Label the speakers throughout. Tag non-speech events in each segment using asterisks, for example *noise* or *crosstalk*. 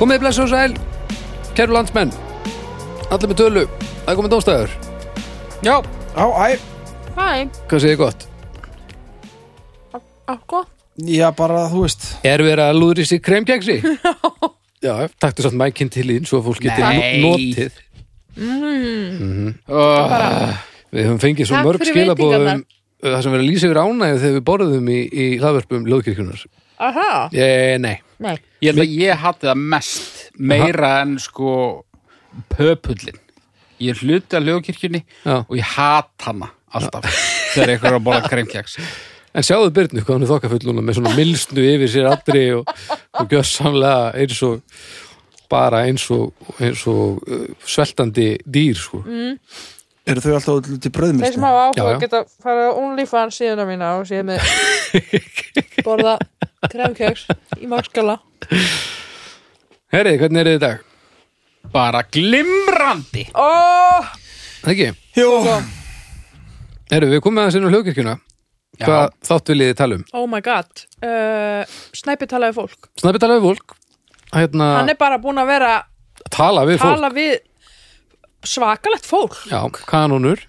Speaker 1: Komið bless og sæl, kæru landsmenn Allir með tölu, það er komið dómstæður
Speaker 2: Já,
Speaker 3: Á, æ,
Speaker 4: Hæ,
Speaker 1: Hvað segir gott?
Speaker 4: akkur
Speaker 3: já bara þú veist
Speaker 1: Er verið að lúðri sér
Speaker 4: *laughs*
Speaker 1: kremkeksi? Já, taktu samt mækinn til ín svo að fólk getur
Speaker 2: Nei.
Speaker 1: no- notið Mhm. Ah,
Speaker 2: uh,
Speaker 1: Við höfum fengið svo
Speaker 4: Mm-hmm. Takk
Speaker 1: mörg
Speaker 4: fyrir
Speaker 1: skilabóðum
Speaker 4: veitingarnar.
Speaker 1: það sem verið að lýsa yfir ánægðu þegar við borðum í, í hlaðvörpum lögkirkjunar
Speaker 4: Aha,
Speaker 1: eh, Nei,
Speaker 4: nei
Speaker 2: ég held að ég hatti það mest meira en sko pöpullin Ég er hluti af lögkirkjunni
Speaker 1: Já.
Speaker 2: og ég hatt hana alltaf *laughs* þegar eitthvað er að borða kremkjaks
Speaker 1: en sjáðu Byrnu hvað hann er þokkafull núna með svona milsnu yfir sér allri og, og gjössamlega eins og bara eins og, eins og uh, sveltandi dýr sko.
Speaker 4: Mm.
Speaker 3: Eru þau alltaf út í
Speaker 4: Þeir
Speaker 3: bröðmistu?
Speaker 4: sem hafa áhuga
Speaker 1: Já, já.
Speaker 4: geta fara á OnlyFans síðuna mína og séð með
Speaker 1: *laughs*
Speaker 4: borða kremkjöks í magskala
Speaker 1: Herri, hvernig er þið í dag?
Speaker 2: Bara glimrandi
Speaker 4: Ó,
Speaker 1: Það ekki?
Speaker 3: Jó,
Speaker 1: Herri, við komum aðeins inn á hljókirkjuna
Speaker 2: Já.
Speaker 1: Hvað þátt viljið þið tala um?
Speaker 4: oh my god uh, Snæpi talaði við fólk
Speaker 1: Snabbi tala við fólk hérna,
Speaker 4: Hann er bara búin að vera
Speaker 1: Tala við fólk
Speaker 4: tala við svakalegt fólk
Speaker 1: Já, kanónur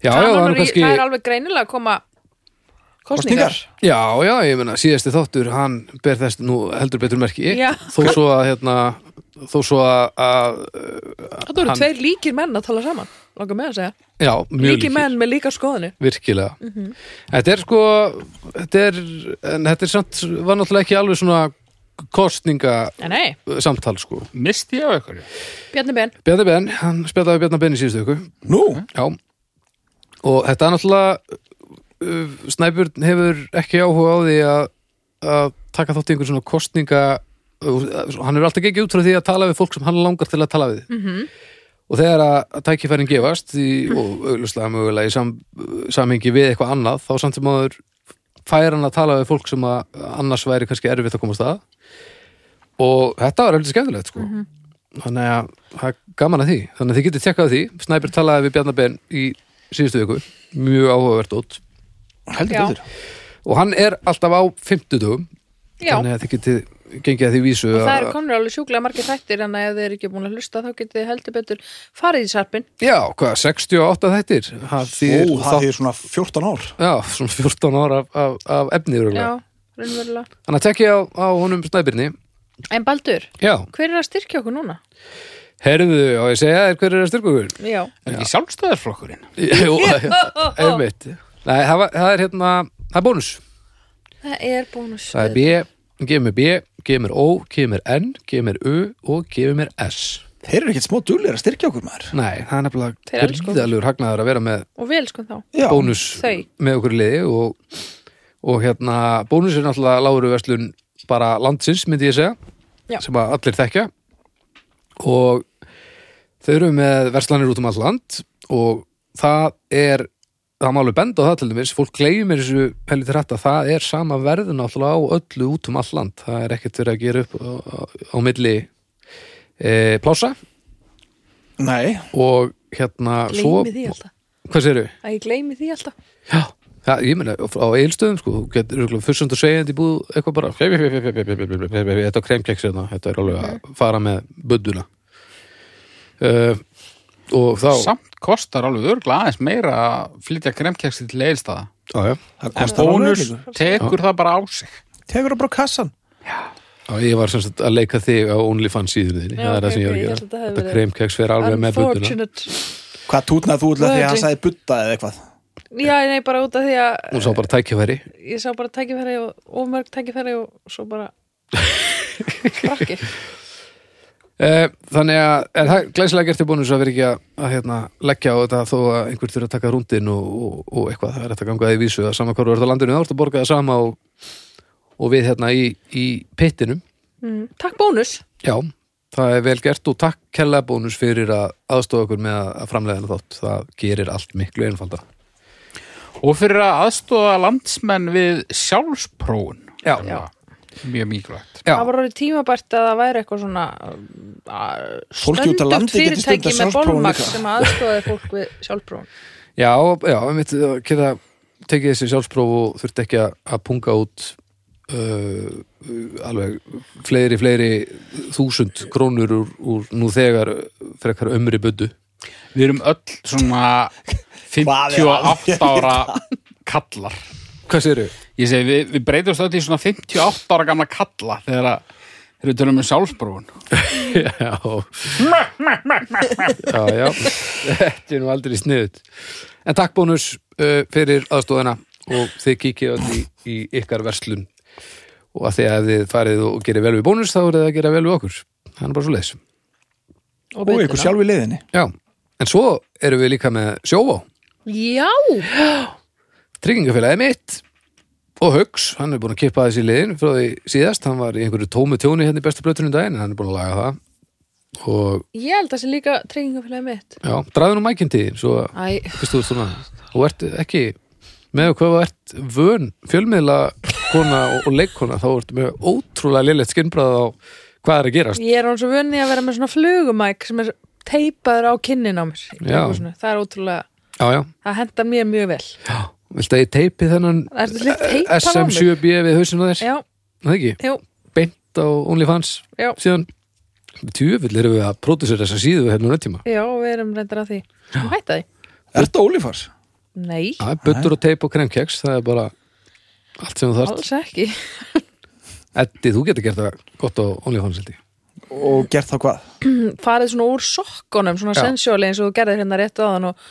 Speaker 1: Já, já,
Speaker 4: Kanónur
Speaker 1: það er
Speaker 4: í-
Speaker 1: kannski
Speaker 4: það er alveg greinilega að koma kostningar,
Speaker 3: kostningar
Speaker 1: Já, já, ég meina, síðasti þáttur hann ber þess nú heldur betur merki
Speaker 4: Já.
Speaker 1: þó svo að, hérna þó svo að, að
Speaker 4: Þetta voru
Speaker 1: Hann-
Speaker 4: tveir líkir menn að tala saman Langar með að segja,
Speaker 1: já, mjög
Speaker 4: líkir menn með líka skoðinu
Speaker 1: virkilega þetta er sko þetta er, en þetta er samt var náttúrulega ekki alveg svona kostninga
Speaker 4: Nei, nei,
Speaker 1: uh, samtal sko
Speaker 2: Misti ég á ykkur
Speaker 4: Bjarni Ben
Speaker 1: Bjarni Ben, hann spjallaði Bjarni Ben í síðustu ykkur
Speaker 3: Nú,
Speaker 1: já, og þetta er náttúrulega uh, Snæbjörn hefur ekki áhuga á því að, að taka þátt í einhver svona kostninga uh, hann hefur alltaf ekki út frá því að tala við fólk sem hann langar til að tala við og þegar að tækifærin gefast í, og auðvitað mögulega í sam, samhengi við eitthvað annað þá samt sem áður fær hann að tala við fólk sem að annars væri kannski erfitt að komast að og þetta var eftir skemmtilegt sko. þannig að það er gaman að því þannig að þið getið tjekkað á því Snæbjörn talaði við Bjarnabenn í síðustu viku mjög áhugavert út
Speaker 3: heldur
Speaker 4: Já.
Speaker 3: betur
Speaker 1: og hann er alltaf á 50 dögum
Speaker 4: Já,
Speaker 1: þannig að þið getið gengið að því vísu
Speaker 4: og það
Speaker 1: að,
Speaker 4: eru komnir alveg sjúklega margir þættir en ef þið eru ekki búin að hlusta þá getið þið heldur betur farið í sarpin
Speaker 1: já, hvað, 68 þættir það þýðir
Speaker 3: Ó,
Speaker 1: þátt-
Speaker 3: það er svona 14 ár
Speaker 1: Já, svona 14 ára af, af, af efni örugglega.
Speaker 4: Já, raunverulega
Speaker 1: Þannig að tekja á, á honum Snæbyrni
Speaker 4: En Baldur,
Speaker 1: Já,
Speaker 4: hver er að styrkja okkur núna?
Speaker 1: herðu, og ég segja þér hver er að styrkugur
Speaker 4: *laughs* Já,
Speaker 2: Er ekki sjálfstæðarflokkurinn?
Speaker 1: Jú, *laughs* einmitt Nei, það, var, það er hérna, það er bónus
Speaker 4: það er bónus
Speaker 1: Það er B, gefur mér B, gefur mér O, gefur mér N, gefur mér U og gefur mér S
Speaker 3: Þeir eru ekkert smá duglegir að styrkja okkur maður
Speaker 1: Nei, það er
Speaker 4: Þeir
Speaker 1: nefnilega
Speaker 4: elsku okkur.
Speaker 1: gríðalegur hagnaður að vera með
Speaker 4: Og við elskum þá
Speaker 3: Já,
Speaker 1: bónus
Speaker 4: þau.
Speaker 1: með okkur í liði og, og hérna, bónus er náttúrulega láru verslun bara landsins, myndi ég segja
Speaker 4: Já.
Speaker 1: sem að allir þekkja og þau eru með verslanir út um all land og það er það má alveg benda á það til dæmis fólk gleymir þessu helviti rætt að það er sama verð náttúrulega á öllu út um all land það er ekkert verið að gera upp á, á, á milli e, plása
Speaker 3: nei,
Speaker 1: og hérna
Speaker 4: Gleymi því
Speaker 1: svo,
Speaker 4: alltaf
Speaker 1: hvað séru?
Speaker 4: Að ég gleymi því alltaf
Speaker 1: Já, já ég meina á eilstöðum sko, þú getur örugglega fyrstund og segjandi í búð eitthvað bara þetta er kremkeks hérna, þetta er alveg
Speaker 4: Mhm.
Speaker 1: að fara með budduna uh, og þá
Speaker 2: Samt kostar alveg örgla aðeins meira að flytja kremkjaksi til eilstaða
Speaker 1: já, já,
Speaker 3: það
Speaker 2: En
Speaker 3: kostar alveg
Speaker 2: bónus
Speaker 3: öllu.
Speaker 2: tekur það bara á sig
Speaker 3: Tekur það bara á kassan
Speaker 1: Já, ég var sem sagt að leika þig á OnlyFans síðunni þinni,
Speaker 4: Já,
Speaker 1: það er það
Speaker 4: ok,
Speaker 1: sem ég
Speaker 4: ok, ég
Speaker 1: var að
Speaker 4: held að þetta
Speaker 1: gera
Speaker 4: hefði
Speaker 1: þetta
Speaker 4: verið
Speaker 1: kremkeks fyrir alveg með budduna
Speaker 4: Unfortunate
Speaker 3: Hvað tútnaði þú útlega því að hann
Speaker 4: Guðli.
Speaker 3: sagði budda eða eitthvað
Speaker 4: Já, nei, bara út af því að
Speaker 1: hún sá bara tækjafæri
Speaker 4: ég sá bara tækifæri og ómörg tækifæri og svo bara
Speaker 1: *laughs*
Speaker 4: Krakki
Speaker 1: Eh, Þannig að er það glæsilega gert í bónus að vera ekki að, að hérna, leggja á þetta þó að einhver þurfa að taka rúndin og, og, og eitthvað, það er þetta gangaði vísu að sama hvar þú ert á landinu, þá ertu að borga það sama og, og við hérna í, í pittinum,
Speaker 4: Mm, Takk bónus
Speaker 1: já það er vel gert og takk kærlega bónus fyrir að aðstofa okkur með að framlega þennan þátt það gerir allt miklu einfalda
Speaker 2: og fyrir að aðstofa landsmenn við sjálfspróun
Speaker 1: Já,
Speaker 2: Já. mjög mikilvægt
Speaker 1: já,
Speaker 4: það var orðið tímabært að það væri eitthvað svona uh,
Speaker 3: Fólki út á
Speaker 4: stöndugt
Speaker 3: landi getur
Speaker 4: fyrirtæki
Speaker 3: stundað
Speaker 4: með
Speaker 3: sjálfsfróun
Speaker 4: bolmaks
Speaker 3: líka.
Speaker 4: sem aðstofaði fólk við
Speaker 3: *laughs*
Speaker 4: sjálfbrón
Speaker 1: já, eh, já, einmitt, geta tekið þessi sjálfspróf og þurft ekki að, að punga út uh, alveg fleiri, fleiri þúsund krónur úr, úr nú þegar eh, frekar ömri buddu
Speaker 2: Við erum öll svona
Speaker 3: *laughs* Hvað er að
Speaker 2: 58 ára kallar
Speaker 1: Hvað séru?
Speaker 2: Ég segi, við, við breytumst öll í svona 58 ára gamla kalla þegar að þegar við tölum um sjálfsbrófun
Speaker 1: *laughs* já Já, já Þetta er nú aldrei sniðut En takk bónus uh, fyrir aðstóðina og þið kíkir öll í, í ykkar verslun og að því að ef þið farið og gerir vel við bónus þá er það að gera vel við okkur Það er bara svo leys
Speaker 4: og
Speaker 3: Og ykkur
Speaker 4: beitina.
Speaker 3: sjálf í leiðinni
Speaker 1: Já, en svo erum við líka með sjóvá
Speaker 4: Já,
Speaker 1: tryggingafélagið mitt og Hugs, hann er búin að kippa þessi liðin frá því síðast, hann var í einhverju tómu tjóni hérna í bestu blötunum daginn, en hann er búin að laga það og
Speaker 4: ég held að það sé líka treyngingafélagi mitt
Speaker 1: já, draðu nú mækindi svo að
Speaker 4: Æ,
Speaker 1: fyrst þú ert svona og ert ekki með hvað þú ert vön fjölmiðla kona og, og leikkona þá ertu með ótrúlega lélegt skinnbræð á hvað er að gerast
Speaker 4: ég er alveg svo vunni að vera með svona flugumæk sem er teipaður á kinnin á mér Ég
Speaker 1: Já.
Speaker 4: tekur svona. Það er ótrúlega,
Speaker 1: já, já,
Speaker 4: það hendar mér mjög vel
Speaker 1: já, viltu að ég teipi þennan
Speaker 4: Ertu slitt teipað á mig?
Speaker 1: SM7B við hausinu þess,
Speaker 4: Já,
Speaker 1: það ekki
Speaker 4: jú,
Speaker 1: beint á OnlyFans
Speaker 4: já,
Speaker 1: síðan tjöfull erum við að pródusera þessa síðu hérna um tíma
Speaker 4: já, við erum reyndar að því Hætta því?
Speaker 3: Er þetta Ólífars?
Speaker 4: Nei,
Speaker 1: það er buttur og teip og kremkeks það er bara allt sem þú þarft
Speaker 4: alls ekki
Speaker 1: Eddi, þú getur gert það gott á OnlyFans held ég.
Speaker 3: Og gert þá hvað?
Speaker 4: farið svona úr sokkunum svona
Speaker 1: Já.
Speaker 4: sensjóli eins og þú gerðir hérna rétt á þann og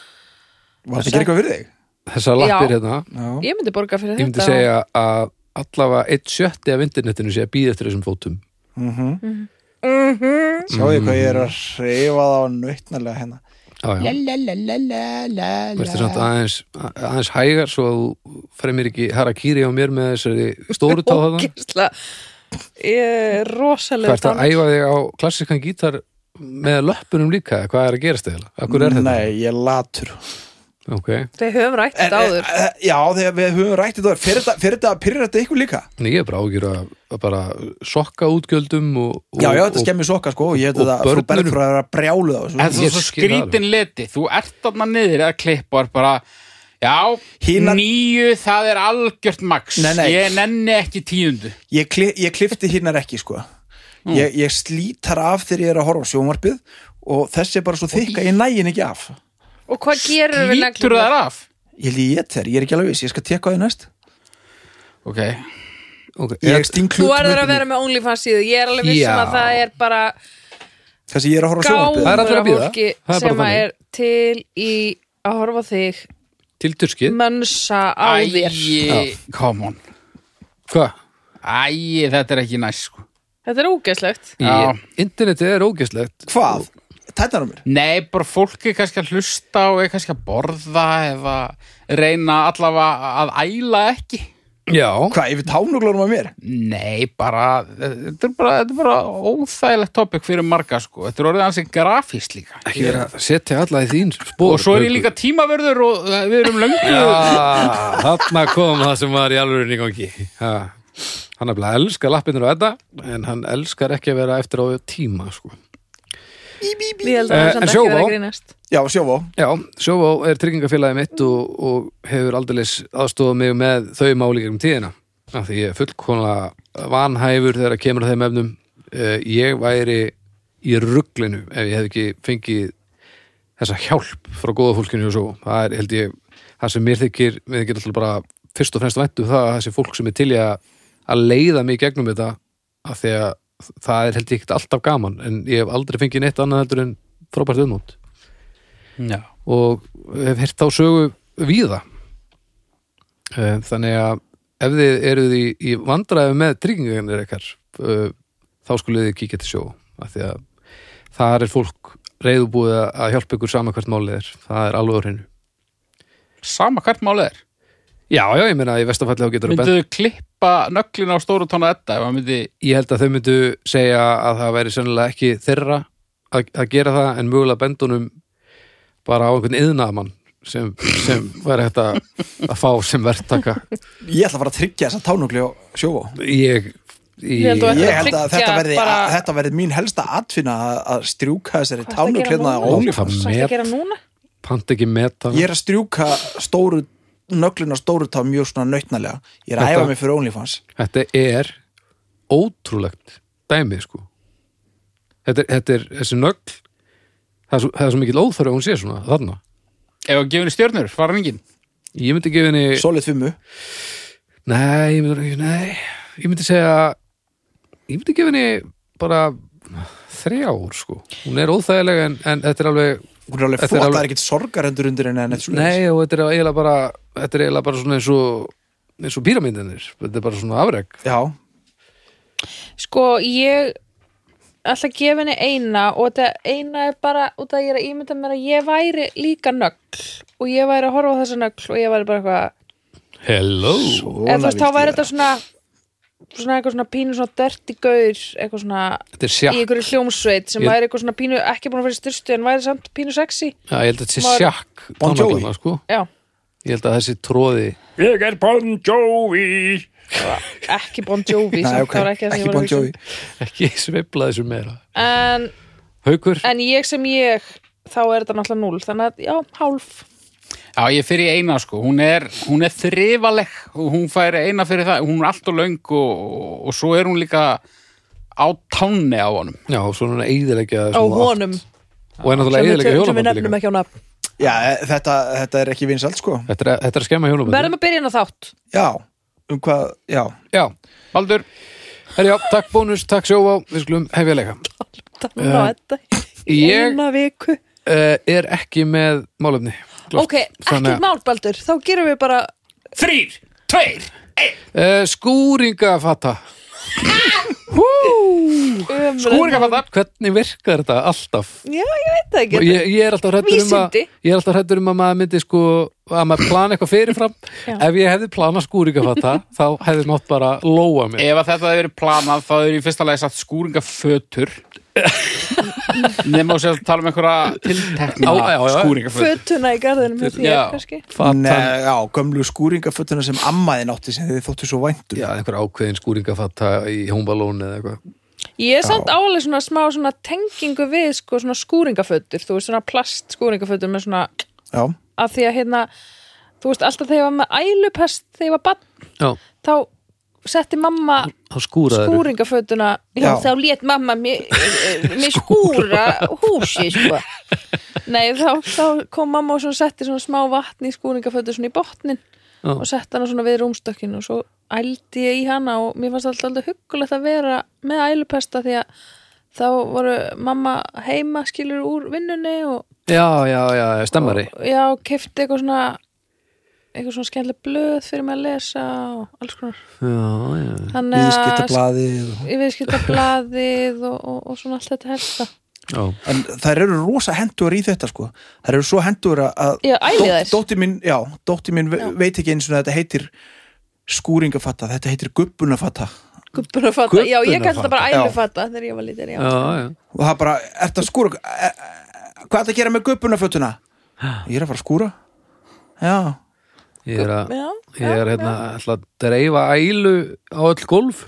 Speaker 3: Var þetta að gera eitthvað fyrir þig?
Speaker 1: þessar lappir
Speaker 4: Já.
Speaker 1: hérna
Speaker 3: Já.
Speaker 4: ég myndi borga fyrir
Speaker 1: ég myndi
Speaker 4: þetta
Speaker 1: segja að allavega eitt sjötti af internetinu sé að býða eftir þessum fótum
Speaker 3: Sjáðu hvað ég er að reyfa það á nautnarlega hérna.
Speaker 1: Já, já. Verður samt aðeins, aðeins hægar svo að þú fremir ekki harakýri á mér með þessari
Speaker 4: *laughs*
Speaker 1: stóru tá
Speaker 4: og
Speaker 1: þarna
Speaker 4: gísla ég er rosalega
Speaker 1: Hvert að æfa þig á klassikan gítar með löppunum líka, eða hvað er að gerast eða? Akkur er þetta?
Speaker 3: Nei, ég er latur.
Speaker 1: Ok,
Speaker 4: þeir höfum rætt
Speaker 3: En,
Speaker 4: þetta
Speaker 3: en,
Speaker 4: áður
Speaker 3: en, já, þegar við höfum rætt þetta áður. fyrir þetta, fyrir þetta að pyrra þetta ykkur líka
Speaker 1: en ég er bara ágjur að, að bara sokka útgjöldum og, og,
Speaker 3: Já, já, þetta
Speaker 1: og
Speaker 3: skemmir soka sko og ég
Speaker 1: og
Speaker 3: hefði það frú
Speaker 1: börnunum.
Speaker 3: Bergfrá er að brjálu það
Speaker 2: En það
Speaker 1: Ég
Speaker 2: er svo
Speaker 1: skil það
Speaker 2: skrítin leti Þú ert þarna niður eða klippa og er bara Já,
Speaker 3: Hinar-
Speaker 2: nýju, það er algjört max
Speaker 3: Nei, nei.
Speaker 2: Ég nenni ekki tíundu
Speaker 3: ég, kli, ég klifti hinnar ekki sko
Speaker 1: Mm.
Speaker 3: ég, ég slítar af þegar ég er að horfa á sjónvarpið og þessi er bara svo þykka ég nægin ekki af
Speaker 1: eh,
Speaker 4: og hvað gerir við
Speaker 2: Lítur
Speaker 4: neglurnar?
Speaker 2: þar af
Speaker 3: ég held ég get þér, ég er ekki alveg viss, ég skal tekka á því næst
Speaker 2: Ok,
Speaker 1: okay,
Speaker 3: ég
Speaker 1: ég,
Speaker 3: sting
Speaker 4: þú
Speaker 3: klut
Speaker 4: verður að vera með OnlyFans síðu ég er alveg vissum
Speaker 1: Já.
Speaker 4: að það er bara
Speaker 3: þessi ég er að horfa á
Speaker 4: gámur
Speaker 3: sjónvarpið
Speaker 1: Það er allir að
Speaker 4: af
Speaker 1: bíða.
Speaker 4: fólki
Speaker 1: Það er bara
Speaker 4: sem að
Speaker 1: þannig.
Speaker 4: er til í að horfa á þig
Speaker 1: til durskið
Speaker 4: mönsa á þér
Speaker 2: æi, come on
Speaker 1: Hvað?
Speaker 2: Æi, þetta er ekki næst sko.
Speaker 4: þetta er ógeðslegt
Speaker 2: Já.
Speaker 1: Ég- Internetið er ógeðslegt
Speaker 3: hvað? tætnar á mér?
Speaker 2: Nei, bara fólk er kannski að hlusta og er kannski að borða eða reyna allavega að æla ekki
Speaker 1: Já,
Speaker 3: hvað, yfir tánuglunum á mér?
Speaker 2: Nei, bara þetta er bara, þetta er bara óþægilegt topic fyrir marga sko, þetta er orðið hans grafíst líka
Speaker 1: ekki vera að setja alla í þín spór
Speaker 2: og svo er ég líka tímaverður og uh, við erum löngu
Speaker 1: Ah, þarna kom það sem var í alvörinni gangi ha. hann er bara að elska lappinur og þetta en hann elskar ekki að vera eftir á tíma sko.
Speaker 4: ég held að
Speaker 1: Eh,
Speaker 4: það er
Speaker 1: en
Speaker 4: samt ekki verið
Speaker 1: sjóvá?
Speaker 4: að grínast
Speaker 3: já, sjófó
Speaker 1: já, Sjóvá er tryggingafélagi mitt og, og hefur aldeilis aðstofað mig með þau máli gegnum tíðina af því ég er fullkonlega vanhæfur þegar að kemur að þeim efnum Eh, ég væri í rugglinu ef ég hef ekki fengið þessa hjálp frá góða fólkinu og svo það er held ég, það sem mér þykir við getum alltaf bara fyrst og fremst væntum það að þessi fólk sem er til í að, að leiða mig í gegnum þetta að því að það er held ég ekkert alltaf gaman en ég hef aldrei fengið neitt annað heldur en frábært viðmót
Speaker 2: Já.
Speaker 1: og hef hirt þá sögu víða Eh, þannig að ef þið eruð í, í vandræðu með tryggingarnir ekkar þá skulið þið kíkja til sjó af því að þar er fólk reyðubúið að- að hjálpa ykkur sama hvert málið er það er alveg á hreinu
Speaker 2: sama hvert málið er
Speaker 1: já, já, ég meina að í vestafalli þá getur að bent
Speaker 2: mynduðu klippa nöglina á stóru tónu þetta ef maður myndi
Speaker 1: ég held að þau myndu segja að það væri sennilega ekki þeirra að, að gera það en mögulega bendunum bara á einhvern yðnaðamann sem, sem væri hægt að, að fá sem verktaka
Speaker 3: ég ætla að fara að tryggja þessa tánugli á sjófó
Speaker 1: ég, ég,
Speaker 4: Ég held að-
Speaker 3: ég held að þetta
Speaker 4: Tryggja
Speaker 3: verði,
Speaker 4: bara-
Speaker 3: að, þetta verði mín helsta atfinna að, að strjúka þessari
Speaker 4: Hvað ertu að gera
Speaker 3: tánugli hérna á
Speaker 4: núna?
Speaker 1: Ónýfans.
Speaker 4: Hvað ertu að gera núna?
Speaker 1: pant ekki meta
Speaker 3: Ég er að strjúka stóru nöglina stóru tá mjög svona nautnalega ég er að
Speaker 1: Þetta-
Speaker 3: æfa mig fyrir OnlyFans
Speaker 1: Þetta er ótrúlegt dæmi sko Þetta er, þetta er þessi nögl það er svo, það er svo mikill óþörf að hún sé svona þarna
Speaker 2: Ef að gefa henni stjörnur, fara hann enginn
Speaker 1: Ég myndi gefa henni
Speaker 3: solid fimmu,
Speaker 1: Nei, ég myndi, nei, ég myndi segja ég myndi gefa henni bara þrjár sko Hún er óþægileg en, en þetta er alveg
Speaker 3: hún er alveg
Speaker 1: Þetta er
Speaker 3: flott það
Speaker 1: alveg-
Speaker 3: er ekkit sorgarendur undir henni en þetta
Speaker 1: Nei og þetta er eiginlega bara þetta er eiginlega bara svona eins og eins og píramindinir, þetta er bara svona afreg
Speaker 3: já,
Speaker 4: Sko, ég ætla að gefa henni eina og þetta eina er bara út af að ég er að ímynda mér að ég væri líka nögl og ég væri að horfa á þessa nögl og ég væri bara eitthvað
Speaker 1: Hello
Speaker 4: eða þú veist, þá væri
Speaker 3: vildi
Speaker 4: þetta svona svona eitthvað svona pínu svona dörti gaur eitthvað svona
Speaker 1: Þetta er
Speaker 4: í
Speaker 1: sjakk,
Speaker 4: einhverju hljómsveit sem
Speaker 1: Ég-
Speaker 4: væri eitthvað svona pínu ekki búin að vera í styrstu en væri samt pínu sexy
Speaker 1: já, ég held að þetta sé
Speaker 4: Maður-
Speaker 1: sjakk
Speaker 3: Bon Jovi.
Speaker 1: tánaglanna, sko.
Speaker 4: já,
Speaker 1: Ég held að þessi tróði
Speaker 2: Ég er Bon Jovi
Speaker 4: ekki Bon
Speaker 3: *laughs*
Speaker 4: Jovi
Speaker 3: Nei,
Speaker 4: samt,
Speaker 3: ok,
Speaker 4: það var ekki, það sem ég
Speaker 3: ekki
Speaker 4: var að
Speaker 3: Bon
Speaker 4: hugsa um.
Speaker 3: Jovi
Speaker 1: ekki *laughs* sveifla þessu meira
Speaker 4: en,
Speaker 1: Haukur,
Speaker 4: en ég sem ég þá er þetta náttúrulega núl þannig að já, hálf
Speaker 2: Já, ég fyrir í eina sko, hún er, hún er þrifaleg og hún fær eina fyrir það, hún er allt og löng og, og, og svo er hún líka á tánni á honum.
Speaker 1: já, svona eðilegja
Speaker 4: á honum
Speaker 1: og er náttúrulega
Speaker 4: sem
Speaker 1: eðilegja
Speaker 4: við, sem við
Speaker 1: hjólabandi
Speaker 4: nefnum
Speaker 1: líka
Speaker 4: ekki á nafn
Speaker 3: já, e- þetta, þetta er ekki vinsælt sko
Speaker 1: þetta er, þetta er að skemma hjólabandi
Speaker 4: verðum að byrja inn á þátt
Speaker 3: já, um hvað, já
Speaker 1: Já,
Speaker 2: Baldur,
Speaker 1: herjá, takk bónus, takk sjóvá við skulum hefja leika
Speaker 4: þannig að þetta í
Speaker 1: ég-
Speaker 4: eina viku
Speaker 1: uh, er ekki með málefni Klárt.
Speaker 4: ok, ekki
Speaker 1: Þannig að-
Speaker 4: málbaldur, þá gerum við bara
Speaker 2: þrýr, tveir,
Speaker 1: uh, skúringafata
Speaker 4: um,
Speaker 1: Sko,
Speaker 2: skúrikafata.
Speaker 1: hvernig virkar þetta alltaf
Speaker 4: já, ég veit það
Speaker 1: Og
Speaker 4: ekki
Speaker 1: ég, ég er alltaf hrættur um að
Speaker 4: Vísindi.
Speaker 1: ég er alltaf hrættur um að maður myndi sko að maður plana eitthvað fyrirfram
Speaker 4: Já.
Speaker 1: ef ég hefði planað skúringafata
Speaker 4: *laughs*
Speaker 1: þá hefði mátt bara lóa mig
Speaker 2: Ef að þetta hefur verið planað, þá er í fyrsta lagi satt skúringafötur. Nefnum að sér að tala um einhverja tiltekna
Speaker 1: Já, já, já.
Speaker 2: skúringafötur.
Speaker 4: fötuna í garðinum hjá þér
Speaker 2: Já.
Speaker 4: kannski
Speaker 1: Fatan-
Speaker 3: Nei, já, gömlu skúringafötuna sem ammaði nátti sem þið þóttu svo væntu
Speaker 1: Já, einhver ákveðin skúringafata í hómbalóni eða eitthvað.
Speaker 4: Ég er samt álega svona smá svona tengingu við sko svona skúringafötur þú veist svona plast skúringafötur með svona
Speaker 3: já,
Speaker 4: að því að hérna þú veist alltaf þegar ég var með ælupest þegar ég var bann
Speaker 1: Já,
Speaker 4: þá setti mamma
Speaker 1: þá skúraður.
Speaker 4: skúringafötuna já,
Speaker 3: Já.
Speaker 4: þá lét mamma mér, mér skúra húsi sko Nei þá, þá kom mamma og svona setti svona smá vatn í skúringafötur svona í botnin
Speaker 1: Já.
Speaker 4: og setti hana svona við rúmstökkinu og svo ældi ég í hana og mér fannst alltaf alltaf huggulegt að vera með ælupesta því að þá voru mamma heima skilur úr vinnunni og
Speaker 1: Já, já, já, já, stemmari.
Speaker 4: já, kefti eitthvað svona eitthvað svona skemmtileg blöð fyrir mig að lesa og alls konar
Speaker 1: Já, já.
Speaker 4: þannig að
Speaker 3: viðskiptablaði
Speaker 4: viðskipta blaðið og, og, og svona allt þetta helsta
Speaker 1: já.
Speaker 3: en þær eru rosa hendur í þetta sko þær eru svo hendur að
Speaker 4: Já, æði þær.
Speaker 3: dótti mín, já, dótti mín já. veit ekki eins og þetta heitir skúringafatta, þetta heitir gubbunafatta
Speaker 4: Gubbuna fatta, já ég kallt þetta bara ælu fatta þegar ég var lítil, já.
Speaker 1: Já, já.
Speaker 3: og það bara, ert að skúra e, e, hvað er að gera með gubbunafötuna? ég er að fara að skúra já,
Speaker 1: Ég er að,
Speaker 4: Já,
Speaker 1: ég er hérna, ætla að dreifa ælu á öll golf.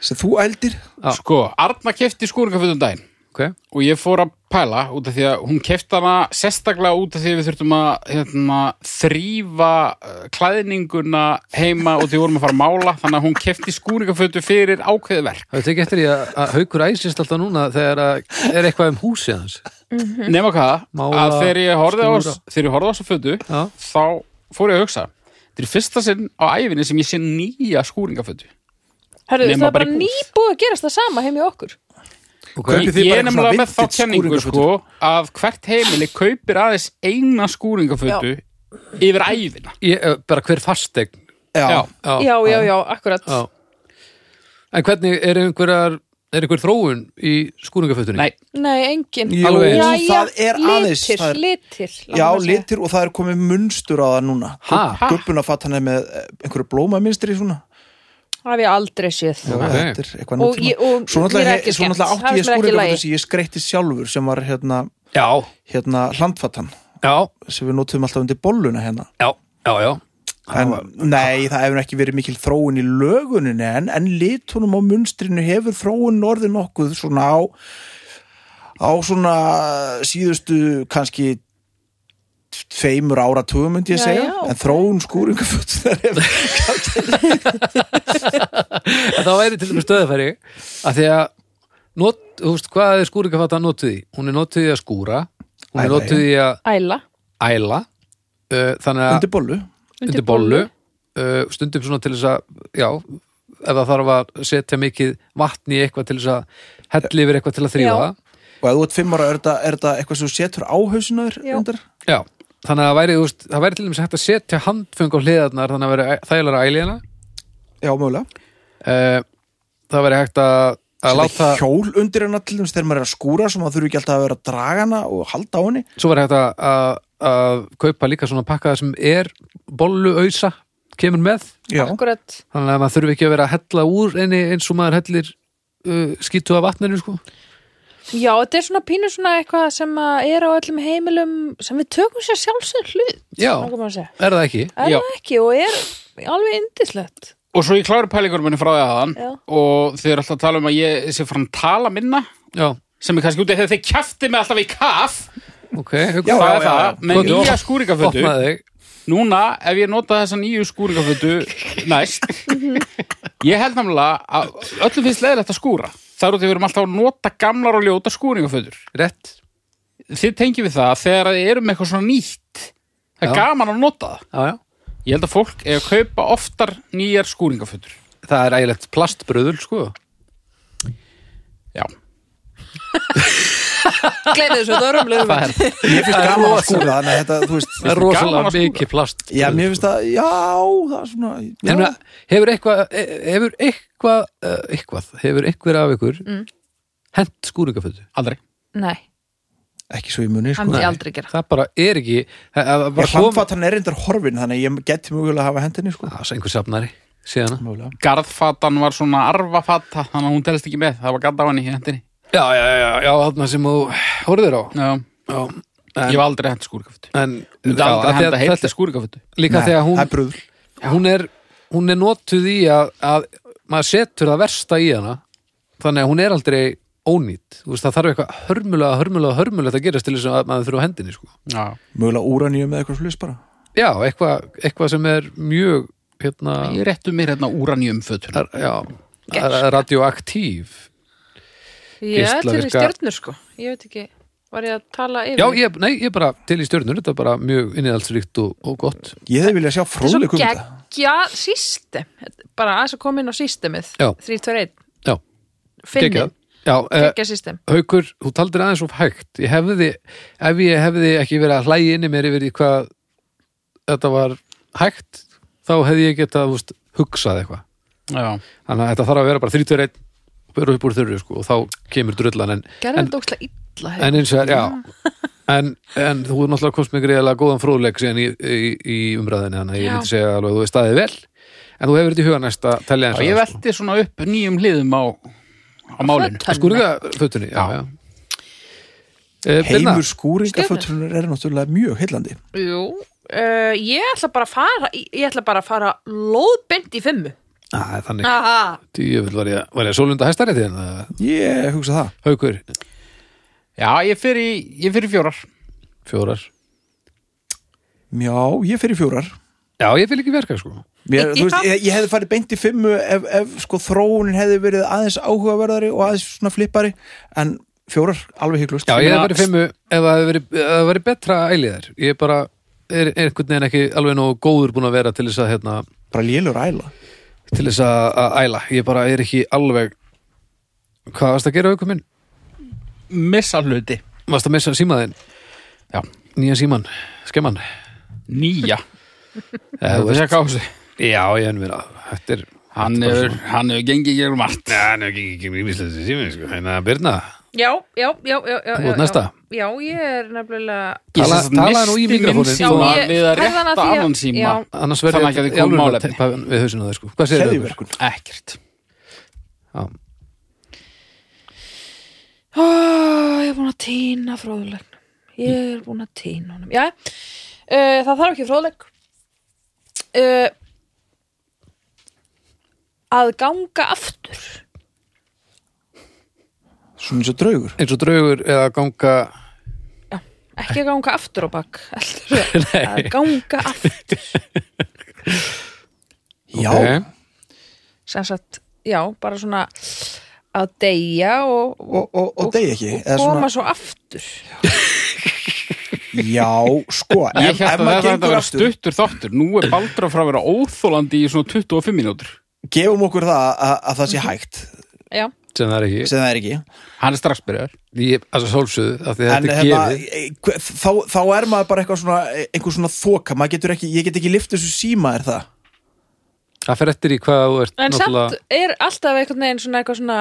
Speaker 3: sem þú ældir
Speaker 1: Já.
Speaker 2: Sko, Arna kefti skúringafötum daginn.
Speaker 1: Ok.
Speaker 2: og ég fór að pæla út af því að hún kefti hana sérstaklega út af því að við þurftum að hérna, þrýfa klæðninguna heima og því vorum að fara að mála þannig að hún kefti skúringafötu fyrir ákveðið verk
Speaker 1: Það er ekki eftir ég að, að haukur æsist alltaf núna þegar að er eitthvað um húsið hans.
Speaker 3: Mhm.
Speaker 2: nema hvað,
Speaker 1: Mála,
Speaker 2: að þegar ég horfði á,
Speaker 1: skúra.
Speaker 2: þegar ég horfði á þessa fötu
Speaker 1: Já.
Speaker 2: þá fór ég að hugsa þetta er fyrsta sinn á æfinni sem ég sé nýja skúringafötu
Speaker 4: Herru,
Speaker 2: Nema
Speaker 4: það er bara
Speaker 2: bara í búð.
Speaker 4: nýbúið að gerast það sama heim í okkur.
Speaker 1: Ok.
Speaker 3: Kaupið þið
Speaker 2: ég
Speaker 3: bara
Speaker 2: er
Speaker 3: eitthvað svona
Speaker 2: nefnilega með þá
Speaker 3: vintage
Speaker 2: kenningu sko,
Speaker 3: skúringafötu?
Speaker 2: að hvert heimili kaupir aðeins eina skúringafötu yfir æfina
Speaker 1: Ég, eh, bara hver fastegn.
Speaker 3: já,
Speaker 2: Já.
Speaker 1: Já.
Speaker 4: Já, já, já, akkurat.
Speaker 1: Já. En hvernig er einhverjar, er einhver þróun í skúringafötunni?
Speaker 2: Nei,
Speaker 4: Nei, engin.
Speaker 3: Jú,
Speaker 1: Alveg.
Speaker 4: já, já,
Speaker 3: það er aðeins-
Speaker 4: litir,
Speaker 3: það er-
Speaker 4: litir. langar
Speaker 3: já,
Speaker 4: að segja.
Speaker 3: litir og það er komið munstur á það núna
Speaker 1: Ha?
Speaker 3: gubbunafattan er með eh, einhverju blómaminstri svona
Speaker 4: Það hef ég aldrei séð.
Speaker 3: Já,
Speaker 1: Ok.
Speaker 3: þetta er eitthvað
Speaker 4: Og ég- og
Speaker 3: nútíma Svo
Speaker 4: mér
Speaker 3: náttúrulega
Speaker 4: er ekki
Speaker 3: he- svo
Speaker 4: skemmt.
Speaker 3: náttúrulega
Speaker 4: Það
Speaker 3: átti ég
Speaker 4: finnst mér ekki í lagi.
Speaker 3: skúringafötu sem ég skreitti sjálfur sem var hérna,
Speaker 1: Já,
Speaker 3: hérna hlandfattan
Speaker 1: já,
Speaker 3: sem við notum alltaf undir bolluna hérna
Speaker 1: já, já, já.
Speaker 3: en, Nei, það hefur ekki verið mikil þróun í löguninni en, en litunum á munstrinu hefur þróun orðið nokkuð svona á á svona síðustu kannski tveimur áratugum myndi ég
Speaker 4: Já,
Speaker 3: segja
Speaker 4: já, ok.
Speaker 3: en þróun skúringafötunar er-
Speaker 1: En það væri til dæmis stöðafæri að því að not, þú veist, hvað er skúringafata notuð í? Hún er notuð í að skúra hún er
Speaker 3: Æla,
Speaker 1: notuð í að
Speaker 4: Æla
Speaker 1: æla uh, þannig að
Speaker 3: undir bollu
Speaker 1: undir, bollu uh, stundum svona til þess að já, ef það þarf að setja mikið vatn í eitthvað til þess að hella yfir eitthvað til að þrýfa
Speaker 4: Já.
Speaker 3: og ef þú ert fimm ára er þetta, er þetta eitthvað sem þú setur á hausinu þér
Speaker 4: Já.
Speaker 3: reyndar?
Speaker 1: já. þannig að það væri, þú veist, það væri til dæmis hægt að setja handfung á hliðarnar þannig að væri þægilega æljana
Speaker 3: já, mögulega
Speaker 1: uh, það væri hægt að, að láta
Speaker 3: Setja hjól undir hennar til þess þegar maður er að skúra sem maður þurfi ekki alltaf að vera að draga hana og halda á henni
Speaker 1: svo væri hægt að, að, að kaupa líka svona pakkaða sem er bolluausa kemur með
Speaker 3: já,
Speaker 4: Akkurat
Speaker 1: þannig að maður þurfi ekki að vera að hella úr einni eins og maður hellir uh, skýtu af vatninu sko
Speaker 4: Já, þetta er svona pínu svona eitthvað sem að er á öllum heimilum sem við tökum sér sjálfsögð hlut
Speaker 1: Já.
Speaker 4: langar maður að segja.
Speaker 1: er það ekki?
Speaker 4: Er
Speaker 2: Já.
Speaker 4: það ekki og er alveg indislegt
Speaker 2: og svo ég klári pælingur minni frá því aðan
Speaker 4: Já.
Speaker 2: og þið eru alltaf að tala um að ég sé frá að tala minna
Speaker 1: Já,
Speaker 2: sem er kannski út af því að þið kjafti mig alltaf í kaff
Speaker 1: ok, hugsa
Speaker 3: Já, já,
Speaker 2: það er það,
Speaker 3: já.
Speaker 2: með
Speaker 1: Komdu,
Speaker 2: nýja
Speaker 1: op-
Speaker 2: skúringafötu
Speaker 1: opnaði þig
Speaker 2: núna ef ég nota þessa nýju
Speaker 3: *laughs*
Speaker 2: skúringafötu næst ég held namlega að öllum finnst leðilegt að skúra það er út af því við erum alltaf að nota gamlar og ljóta skúringafötur
Speaker 1: Rett,
Speaker 2: þið tengjum við það þegar þið erum með eitthvað svona nýtt það er
Speaker 1: Já.
Speaker 2: gaman að nota það
Speaker 1: já, já.
Speaker 2: ég held að fólk er að kaupa oftar nýjar skúringafötur
Speaker 1: Það er ægilegt plastbröðul, sko.
Speaker 2: já,
Speaker 4: Gleinu þessu, það er umlega
Speaker 1: Það er,
Speaker 3: mér finnst gaman að skúra þannig að þetta, þú veist
Speaker 1: það er
Speaker 2: gaman
Speaker 1: rosalega
Speaker 2: að skúra.
Speaker 1: mikið plast.
Speaker 3: já, mér finnst að, já, það er svona já,
Speaker 1: En það- hefur eitthvað, eh, hefur eitthvað, eh, eitthvað, hefur eitthvað af ykkur hent skúringafötu?
Speaker 2: aldrei
Speaker 4: Nei,
Speaker 3: ekki svo í muni,
Speaker 4: hann
Speaker 3: sko
Speaker 4: myndi ég aldrei gera
Speaker 1: Það bara er ekki, það það bara
Speaker 3: ég hlamfatt hann er reyndar horfin þannig að ég geti mjögulega að hafa hendinni, sko
Speaker 1: Það er einhver safnari, síðan.
Speaker 3: mögulega
Speaker 2: garðfatan var svona arfafata þannig að hún telst ekki með, það var gadd á henni í hendinni
Speaker 1: Já, já, já, já, já, þarna sem þú horfður á.
Speaker 2: já,
Speaker 1: Já,
Speaker 2: ég var aldrei hent skúrikafötu
Speaker 1: en
Speaker 2: ég var
Speaker 1: já, af því
Speaker 2: aldrei
Speaker 1: að
Speaker 2: henda
Speaker 1: þetta-
Speaker 2: heitli skúrikafötu
Speaker 1: líka þegar
Speaker 3: það
Speaker 1: hún,
Speaker 3: er bröðl
Speaker 1: hún er, hún er notuð í að, að maður setur það versta í hana þannig að hún er aldrei ónýtt Þú veist, það þarf eitthvað hörmulega, hörmulega, hörmulega að gerast til þess að maður þurfa á hendinni sko.
Speaker 2: já,
Speaker 3: mögulega úranýjum eða eitthvað sluðis bara
Speaker 1: já, eitthvað, eitthvað sem er mjög hérna,
Speaker 2: ég réttu mér hérna úranjum fötuna
Speaker 1: er, já, er, er radioaktív
Speaker 4: Ég er til í
Speaker 1: Geislavirka-
Speaker 4: stjörnur sko Ég veit ekki, var ég að tala yfir
Speaker 1: já, ég, nei, ég er bara til í stjörnur þetta er bara mjög innihaldsríkt og, og gott
Speaker 3: ég hefði viljað sjá
Speaker 4: Þetta er
Speaker 3: fróðleik
Speaker 4: svo
Speaker 3: um þetta
Speaker 4: geggja system bara aðeins að koma inn á systemið
Speaker 1: Já.
Speaker 4: 321,
Speaker 1: já,
Speaker 4: finni
Speaker 1: geggjað. já, eh,
Speaker 4: geggja system
Speaker 1: Haukur, þú taldir aðeins of hægt ég hefði, ef ég hefði ekki verið að hlæja inni mér yfir í hvað þetta var hægt þá hefði ég getað þú veist, hugsað eitthvað
Speaker 2: já,
Speaker 1: þannig að þetta þarf að vera bara 31 vera upp úr þurru sko og þá kemur drullan en,
Speaker 4: Gerðu
Speaker 1: en,
Speaker 4: þetta ókslega illa
Speaker 1: en eins og já *laughs* en, en þú er náttúrulega komst með greiðlega góðan fróðleik síðan í, í, í umræðinni þannig að ég
Speaker 4: Já.
Speaker 1: myndi segja alveg að þú er staðið vel en þú hefur þetta í huga næst að telja eins
Speaker 2: já ég velti svona upp nýjum hliðum á, á málinu
Speaker 4: Fötun.
Speaker 1: skúringafötunni já, já. Eh, Birna?
Speaker 3: heimur skúringafötunar er náttúrulega mjög heillandi
Speaker 4: Jú, uh, ég ætla bara að fara ég ætla bara að fara lóðbend í fimmu
Speaker 1: Ah, það er þannig
Speaker 4: Aha.
Speaker 1: Djöfull var ég, var ég sólunda hæstarétti en það
Speaker 3: ég hugsa það
Speaker 1: hérna, haukur,
Speaker 2: já, ég fyrir, ég fyrir fjórar
Speaker 1: fjórar
Speaker 3: já, ég fyrir fjórar
Speaker 1: Já, ég vil ekki verka sko
Speaker 3: Mér,
Speaker 4: Já.
Speaker 3: þú veist, ég, ég hefði farið beint í fimmu ef, ef sko þróunin hefði verið aðeins áhugaverðari og aðeins svona flippari en fjórar, alveg hygglust
Speaker 1: Já, ég hef
Speaker 2: Ég meina-
Speaker 1: verið fimmu ef það hefði verið- ef það hefði verið betra æliðar Ég bara er er einhvern veginn ekki alveg nógu góður búin að vera til þess að hérna,
Speaker 3: bara lélur æla
Speaker 1: til þess að, að æla Ég bara er ekki alveg Hvað varst að gera haukur minn?
Speaker 2: missa hluti,
Speaker 1: Varst að missa símaðinn?
Speaker 2: já,
Speaker 1: Nýja síman, skemman
Speaker 2: nýja
Speaker 1: Já,
Speaker 2: þú veist ekki á þessu
Speaker 1: Já, ég hef verið að Þetta er
Speaker 2: hann
Speaker 1: þetta er bara
Speaker 2: hefur, hann hefur gengið í gegnum allt
Speaker 1: svona- Já, hann hefur ekki ekki mjög mislega þessi símin sko En að byrna
Speaker 4: Já, já, já, já, já,
Speaker 1: Þú
Speaker 4: já,
Speaker 1: ert næsta.
Speaker 4: já. Já, ég er nefnilega
Speaker 2: Ég
Speaker 1: Tala-
Speaker 2: sem sagt
Speaker 1: talaðu nú í
Speaker 2: missti minn
Speaker 1: mikrófóninn,
Speaker 2: síma
Speaker 1: þú-
Speaker 4: Já, ég-
Speaker 2: við að
Speaker 4: Hægði hann að
Speaker 2: rétta
Speaker 4: því að-
Speaker 2: annan síma
Speaker 4: Já.
Speaker 1: Annars verður
Speaker 2: Þannig að geti komið málefni.
Speaker 1: Við hausinu það sko Hvað segir þau? Haukur?
Speaker 3: keðjuverkun
Speaker 2: ekkert
Speaker 1: Já.
Speaker 4: Ó, ég er búin að týna fróðulegn Ég er búin að týna honum Já, uh, það þarf ekki fróðleg uh, Að ganga aftur
Speaker 3: svona eins og draugur
Speaker 1: eins og draugur eða ganga
Speaker 4: ekki að ganga aftur á bakk heldur að ganga aftur
Speaker 3: já,
Speaker 1: Ok.
Speaker 4: sem sagt, já, bara svona að deyja og,
Speaker 3: og, og, og degi ekki eða svona,
Speaker 4: koma svo aftur
Speaker 3: já, sko
Speaker 2: Ég
Speaker 3: ef,
Speaker 2: held
Speaker 3: ef
Speaker 2: að
Speaker 3: maður
Speaker 2: þetta að
Speaker 3: gengur
Speaker 2: vera
Speaker 3: aftur,
Speaker 2: stuttur þáttur Nú er Baldur að frá að vera óþólandi í svona 25 mínútur
Speaker 3: gefum okkur það að, að
Speaker 4: Mhm.
Speaker 3: það sé hægt
Speaker 4: já,
Speaker 1: sem það er ekki
Speaker 3: sem það er ekki
Speaker 2: Hann er strax byrjar
Speaker 1: ég, altså sólsöðu, af því
Speaker 3: en
Speaker 1: þetta er
Speaker 3: hérna,
Speaker 1: gefið
Speaker 3: e- hve- þá, þá er maður bara eitthvað svona einhver svona þoka, maður getur ekki, ég get ekki lift þessu síma er það
Speaker 1: það fer eftir í hvað þú ert
Speaker 4: en
Speaker 1: náttúrulega
Speaker 4: samt er alltaf einhvern veginn svona eitthvað svona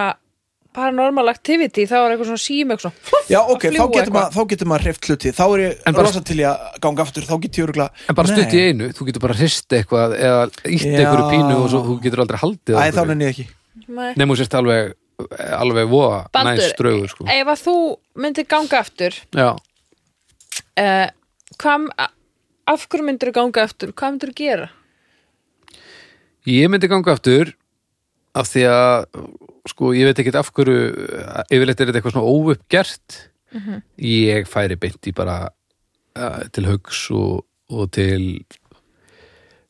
Speaker 4: paranormal activity, þá er eitthvað svona sím eitthvað svona fluff,
Speaker 3: já ok,
Speaker 4: að
Speaker 3: þá
Speaker 4: fljúga
Speaker 3: getur maður, þá getur maður hreift hluti þá er ég
Speaker 1: En bara-
Speaker 3: rosa til ég að ganga aftur þá getur ég örugla
Speaker 1: En bara stutt í einu, þú getur bara hrist eitthvað eða ítt
Speaker 3: Já.
Speaker 1: einhverju pínu og svo, þú getur aldrei haldið á
Speaker 3: Æ, þá
Speaker 1: einhverju.
Speaker 3: nenni ég ekki
Speaker 4: Nei.
Speaker 1: Nefnum þú sért alveg, alveg voða
Speaker 4: Baldur, eh,
Speaker 1: næst draugur sko.
Speaker 4: ef að þú myndir ganga aftur
Speaker 1: Já,
Speaker 4: uh, hvað af hverju myndir þú ganga aftur, hvað myndir þú gera
Speaker 1: ég myndi ganga aftur af því að sko, ég veit ekkert af hverju yfirleitt er þetta eitthvað svona óuppgert ég færi beint í bara uh, til Haugs og, og til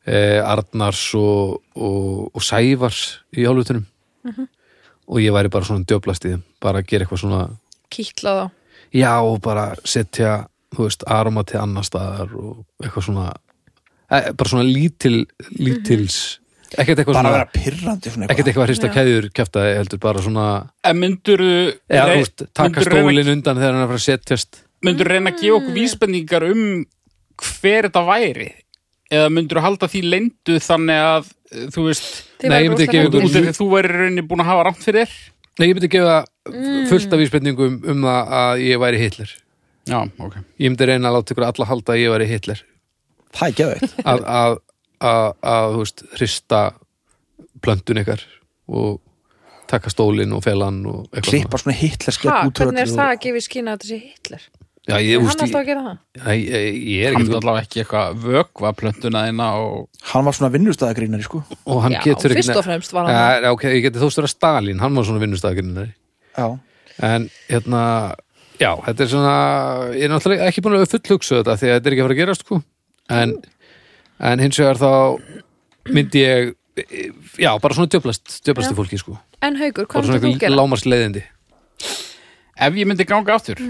Speaker 1: uh, Arnars og, og, og Sævars í hálfutunum og ég væri bara svona djöblast í þeim bara að gera eitthvað svona
Speaker 4: kýtla þá
Speaker 1: Já, og bara setja, þú veist, arma til annar staðar og eitthvað svona e, bara svona lítil, lítils ekkert eitthvað
Speaker 3: Mhm. bara að
Speaker 1: svona
Speaker 3: vera pirrandi svona
Speaker 1: ekkert
Speaker 3: eitthvað
Speaker 1: eitthvað að hrista keðjur kjaftaði heldur bara svona,
Speaker 2: En myndurðu
Speaker 1: eða þú
Speaker 2: rey-
Speaker 1: veist, taka
Speaker 2: myndirðu reyna-
Speaker 1: stólin undan þegar hann er að fara að setjast
Speaker 2: myndur reyna að gefa okkur vísbendingar um hver þetta væri eða myndur halda því leyndu þannig að eh, þú veist
Speaker 4: Þið
Speaker 1: Nei,
Speaker 4: væri
Speaker 1: ég myndi
Speaker 4: rosalega
Speaker 1: gefa ykkur
Speaker 2: út
Speaker 4: góðir.
Speaker 2: af því að þú væri rauninni búin að hafa rátt fyrir þér
Speaker 1: Nei, ég myndi gefa
Speaker 4: Mm.
Speaker 1: fullt af vísbendingum um það að ég væri Hitler
Speaker 2: Já, ok
Speaker 1: Ég myndi reyna að láta ykkur alla halda að ég væri Hitler
Speaker 3: það er geðveikt
Speaker 4: *laughs*
Speaker 1: að, að, að, að þú veist, hrista plöntun ykkar og taka stólin og felan og eitthvað svona.
Speaker 3: klippa svona hitlersk
Speaker 4: ha,
Speaker 3: gegn
Speaker 4: hvernig er
Speaker 3: útröllu
Speaker 4: það að gefa í skýna að þetta sé Hitler
Speaker 1: Já, ég,
Speaker 4: er
Speaker 1: þú
Speaker 4: hann
Speaker 1: veist,
Speaker 4: alltaf
Speaker 1: ég,
Speaker 4: að gera
Speaker 1: ég, ég,
Speaker 4: það
Speaker 1: ég er
Speaker 2: Hann
Speaker 1: ekkert
Speaker 2: myndi allavega ekki eitthvað vökva plöntuna þina og
Speaker 3: hann var svona vinnustæðagrínari sko
Speaker 1: og hann
Speaker 4: Já,
Speaker 1: getur
Speaker 4: fyrst og fremst var hann
Speaker 1: hann ja, ok, ég geti þóst vera Stalin, hann var svona vinnustafgrinnar
Speaker 3: já
Speaker 1: en hérna já, þetta er svona, ég er náttúrulega ekki búin að fullhugsa þetta því að þetta er ekki að fara að gerast sko. en, en hins vegar þá myndi ég já, bara svona djöplast, djöplast
Speaker 4: Já.
Speaker 1: í fólki sko.
Speaker 4: En Haugur,
Speaker 1: bara
Speaker 4: hvað
Speaker 1: svona
Speaker 4: myndir þú
Speaker 1: eitthvað
Speaker 4: gera?
Speaker 1: lámars leiðindi
Speaker 2: ef ég myndi ganga aftur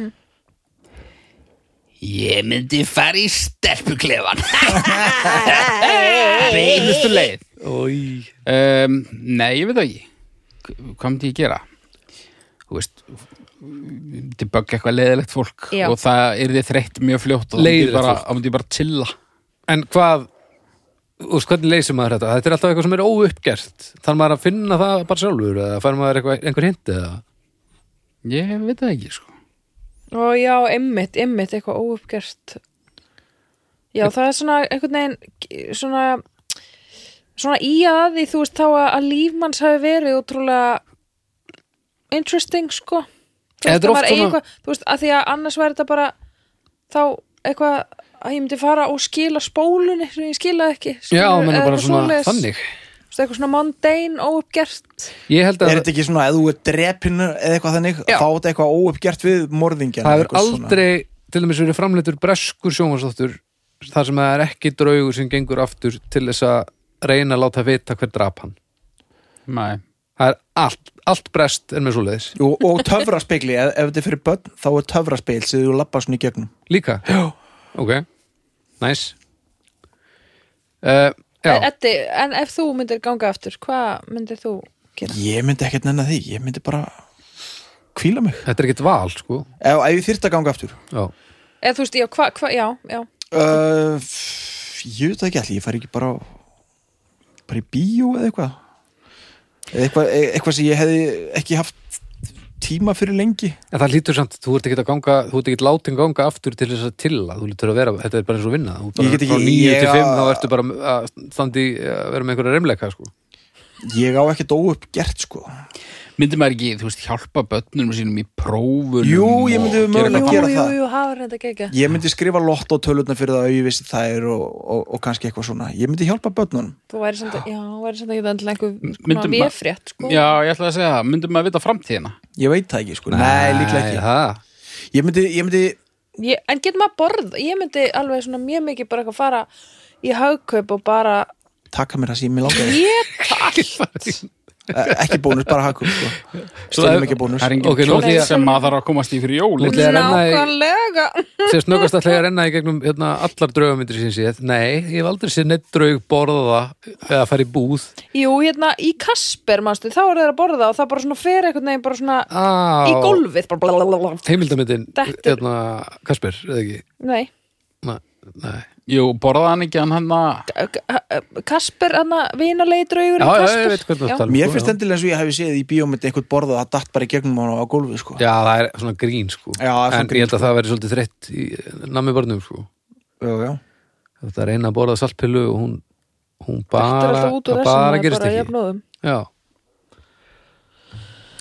Speaker 2: Ég myndi fara í stelpuklefan Beinustu leið
Speaker 1: Ói.
Speaker 2: um, Nei, ég veit það ekki Hva- Hvað myndi ég gera? Þú veist debugga eitthvað leiðilegt fólk
Speaker 4: Já.
Speaker 2: og það er þið þreytt mjög fljótt og þá myndi ég
Speaker 1: Leiðilegt
Speaker 2: bara,
Speaker 1: fólk.
Speaker 2: þá myndi ég bara chilla
Speaker 1: en hvað Þú veist, hvernig leysir maður þetta? Þetta er alltaf eitthvað sem er óuppgert. Þarf maður að finna það bara sjálfur eða fær maður eitthvað, einhver hindi eða?
Speaker 2: Ég veit það ekki sko
Speaker 4: Ó já, ymmit, ymmit, eitthvað óuppgjört Já, það er svona einhvern veginn svona svona í að því, þú veist þá að, að líf manns hafi verið útrúlega interesting, sko Þú
Speaker 1: Eða
Speaker 4: veist,
Speaker 1: þetta er
Speaker 4: það
Speaker 1: oft
Speaker 4: var
Speaker 1: svona-
Speaker 4: eitthvað, þú veist, að því að annars væri þetta bara þá eitthvað að ég myndi fara og skila spólunni sem ég skilaði ekki
Speaker 1: Já,
Speaker 4: skilurðu,
Speaker 1: menn
Speaker 4: eða
Speaker 1: bara
Speaker 4: eitthvað
Speaker 1: svona
Speaker 4: svoleiðis.
Speaker 1: þannig.
Speaker 4: Þú veist, eitthvað svona mundane, óuppgjört
Speaker 1: Ég held að
Speaker 3: er þetta ekki svona, ef þú er drepinu eða eitthvað þannig,
Speaker 4: Já.
Speaker 3: þá er þetta eitthvað óuppgert við morðingjan
Speaker 1: það hefur
Speaker 3: eitthvað svona.
Speaker 1: aldrei til dæmis verið framleitur breskur sjónvarsdóttur þar sem það er ekki draugur sem gengur aftur til þess að reyna að láta vita hver drap hann
Speaker 2: Nei.
Speaker 1: það er allt, allt brest er með svoleiðis
Speaker 3: Jú, og töfraspegli, ef, ef þetta er fyrir börn þá er töfraspegl sem þú lappar svona í gegnum
Speaker 1: líka, já. ok nice uh, já,
Speaker 4: Eddi, en ef þú myndir ganga aftur, hvað myndir þú gera?
Speaker 3: ég myndi ekkert nennan því, ég myndi bara kvíla mig,
Speaker 1: þetta er ekkert val sko
Speaker 3: ef, ef ég þyrft að ganga aftur
Speaker 1: já.
Speaker 4: Eða þú veist, já, hvað, hva, já, já,
Speaker 3: uh, f- ég veit það ekki allir, ég fari ekki bara á- bara í bíó eða eitthvað eða eitthvað, e, eitthvað sem ég hefði ekki haft tíma fyrir lengi
Speaker 1: en það lítur samt, þú ert ekki að ganga þú ert ekki látin ganga aftur til þess að tilla þú lítur að vera, þetta er bara eins og vinna þú
Speaker 3: Ég
Speaker 1: bara,
Speaker 3: get ekki-
Speaker 1: frá 9
Speaker 3: ég
Speaker 1: til 5
Speaker 3: að-
Speaker 1: þá ertu bara að standi að vera með einhverja reymleika sko.
Speaker 3: ég á ekkert óuppgert sko
Speaker 2: Myndi maður ekki, þú veist, hjálpa börnunum sínum í prófunum
Speaker 3: Jú, ég myndi
Speaker 2: og gera
Speaker 3: mögulega-
Speaker 2: eitthvað
Speaker 3: gera
Speaker 4: jú,
Speaker 3: það.
Speaker 4: jú, hafa reynda að gegja
Speaker 3: ég myndi skrifa lott á tölutna fyrir það að ég vissi þær og, og, og kannski eitthvað svona ég myndi hjálpa börnunum
Speaker 4: Þú væri samt, að- já, þú væri samt ekki endilega einhver
Speaker 2: Myndum
Speaker 4: svona
Speaker 2: ma-
Speaker 4: véfrétt, sko
Speaker 2: Já, ég ætla að segja það, myndum maður vita framtíðina
Speaker 3: ég veit það ekki sko, nei, líklega
Speaker 1: það
Speaker 3: ekki ég myndi, ég myndi
Speaker 4: ég, en getur maður borð ég myndi alveg svona mjög mikið bara eitthvað fara í hagkaup og bara
Speaker 3: taka mér það sem ég langaði
Speaker 4: *laughs* ég allt
Speaker 3: Eh, ekki bónus, bara hakum sko. stundum ekki bónus
Speaker 2: Það er engin
Speaker 1: Ok, nú
Speaker 2: okay,
Speaker 1: ætla ég-
Speaker 2: sem maður þarf að komast í
Speaker 1: Nú
Speaker 2: fyrir jólin
Speaker 1: ætla ég að renna í-
Speaker 4: nákvæmlega
Speaker 1: sem snöggast ætla ég að renna í gegnum hérna, allar draugamindir sem ég séð nei, ég hef aldrei séð neitt draug borða eða fara í búð
Speaker 4: jú, hérna í Kasper, manstu, þá eru þeir að borða og það bara svona fer eitthvað neginn bara svona
Speaker 1: á,
Speaker 4: í gólfið bara blablabla.
Speaker 1: heimildamindin
Speaker 4: Dettur.
Speaker 1: hérna, Kasper, eða ekki
Speaker 4: nei,
Speaker 1: nei, nei.
Speaker 2: Jú, borðaði hann ekki hann hérna? hann að
Speaker 4: Kasper, hann að vinalegi draugur
Speaker 1: já, já, ég
Speaker 4: Kasper
Speaker 1: veit hvernig sko. það tala
Speaker 3: mér finnst endilega eins og ég hefði séð í bíómynd eitthvað borðað að datt bara í gegnum hann á gólfi sko.
Speaker 1: já, það er svona grín sko
Speaker 3: Já, það er svona
Speaker 1: en
Speaker 3: grín,
Speaker 1: ég held að það verði svolítið þreytt í nammi barnum sko
Speaker 3: já, já.
Speaker 1: þetta er eina að borða saltpilu og hún, hún
Speaker 4: Þetta er
Speaker 1: um. bara,
Speaker 4: alltaf út úr
Speaker 1: það
Speaker 4: þessum, það
Speaker 1: bara
Speaker 4: er
Speaker 1: gerist
Speaker 4: bara um.
Speaker 1: ekki
Speaker 4: jafnóðum.
Speaker 1: já,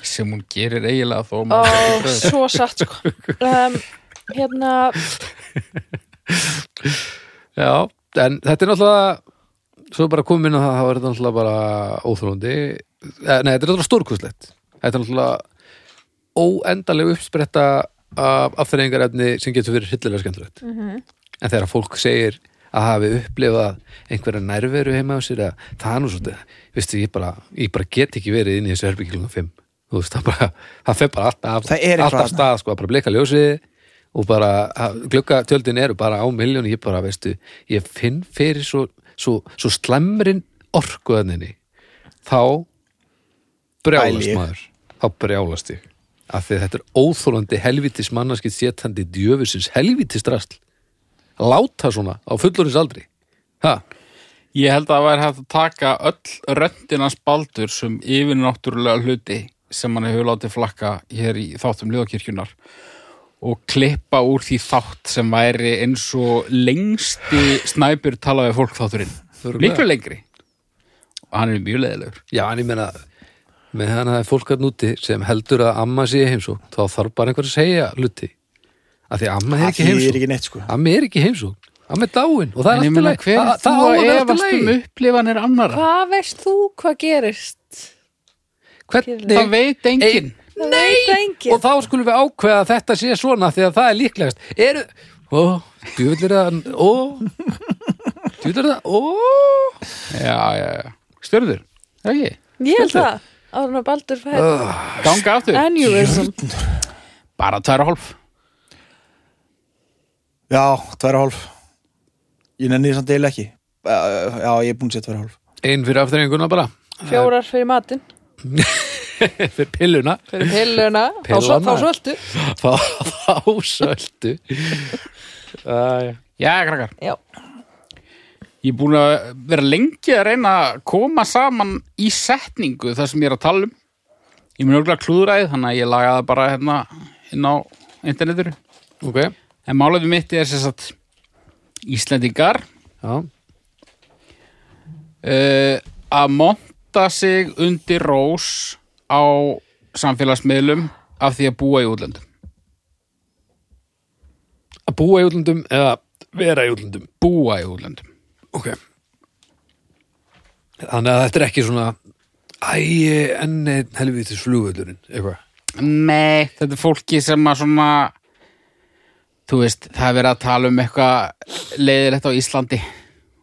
Speaker 2: sem hún gerir eiginlega þó
Speaker 4: Ó,
Speaker 2: maður ekki pröfur.
Speaker 4: svo satt sko um, Hérna,
Speaker 1: já, en þetta er náttúrulega svo bara komin að það það var þetta náttúrulega bara óþrólandi nei, þetta er náttúrulega stórkustlegt þetta er náttúrulega óendaleg uppspretta af afþreyingarefni sem getur verið hryllilega skemmtilegt en þegar fólk segir að hafi upplifað einhverja nærveru heima á sér að það er nú svolítið veistu, ég bara, ég bara get ekki verið inn í þessu herbyggjum 5 þú veist, það bara, það fer bara alltaf,
Speaker 3: Það er eitthvað
Speaker 1: alltaf
Speaker 3: þarna.
Speaker 1: stað, sko, bara blika ljósið og bara, að- gluggatjöldin eru bara á miljónu, ég bara, veistu ég finn fyrir svo, svo, svo slemrin orkuðaninni þá brjálast
Speaker 3: Bæli ég.
Speaker 1: maður þá brjálast ég af því að þetta er óþólandi helvitis mannarskitt sétandi djöfusins helvitis drasl láta svona á fullorins aldri ha,
Speaker 2: Ég held að það væri hægt að taka öll röndinans baldur sem yfirnáttúrulega hluti sem hann hefur látið flakka hér í þáttum Ljóðakirkjunar og klippa úr því þátt sem væri eins og lengsti snæpur talaði fólk þátturinn.
Speaker 1: Örugglega.
Speaker 2: Miklu lengri. Og hann er mjög leðilegur.
Speaker 1: já en ég meina með hann að fólk að núti sem heldur að amma sé heimsók þá þarf bara einhver að segja hluti af því að amma er
Speaker 3: það
Speaker 1: ekki
Speaker 3: þýðir
Speaker 1: heimsók
Speaker 3: ekki neitt sko.
Speaker 1: amma er ekki heimsók, amma er dáin og það
Speaker 2: En
Speaker 1: er
Speaker 2: ég
Speaker 1: alltaf
Speaker 2: meina
Speaker 1: leið,
Speaker 2: hver
Speaker 1: það,
Speaker 2: er
Speaker 1: það
Speaker 2: þú
Speaker 1: á
Speaker 2: að
Speaker 1: að vera
Speaker 2: efast
Speaker 1: alltaf
Speaker 2: um
Speaker 1: leið
Speaker 2: upplifanir annara?
Speaker 4: hvað veist þú hvað gerist?
Speaker 2: Það
Speaker 1: hvernig
Speaker 2: veit enginn.
Speaker 4: Það veit það enginn.
Speaker 1: og þá skulum við ákveða að þetta sé svona því að það er líklegast eru, ó, djúvill er það ó, djúvill er það ó,
Speaker 2: Já, já, já. Stjörður, er ekki?
Speaker 4: Ég held það, áður en að Baldur fær
Speaker 2: Ganga aftur.
Speaker 4: Aneurism
Speaker 2: Bara tæra hálf.
Speaker 3: já, tværa hálf ég nenni þess að deila ekki Eh, já, ég er búin að segja tværa hálf
Speaker 1: einn fyrir afþreyinguna bara
Speaker 4: Fjórar fyrir matinn
Speaker 1: fyrir pilluna
Speaker 4: Fyrir pilluna, þá
Speaker 1: Pilluna.
Speaker 4: svo- þá svöldu
Speaker 1: þá, þá söldu Æ,
Speaker 2: Já, krakkar.
Speaker 4: Já,
Speaker 2: Ég er búin að vera lengi að reyna að koma saman í setningu það sem ég er að tala um. Ég mun örgulega klúðræði þannig að ég laga það bara hérna inn á interneturu.
Speaker 1: ok,
Speaker 2: En málaðu mitt er sem sagt Íslendingar
Speaker 1: já
Speaker 2: uh, að monta sig undir rós á samfélagsmiðlum af því að búa í útlöndum.
Speaker 1: að búa í útlundum eða vera í útlundum
Speaker 2: Búa í útlöndum.
Speaker 1: ok þannig að þetta er ekki svona æ, enn einn helvitis flugvöldurinn eitthvað
Speaker 2: Nei, þetta er fólki sem að svona þú veist, það er verið að tala um eitthvað leiðilegt á Íslandi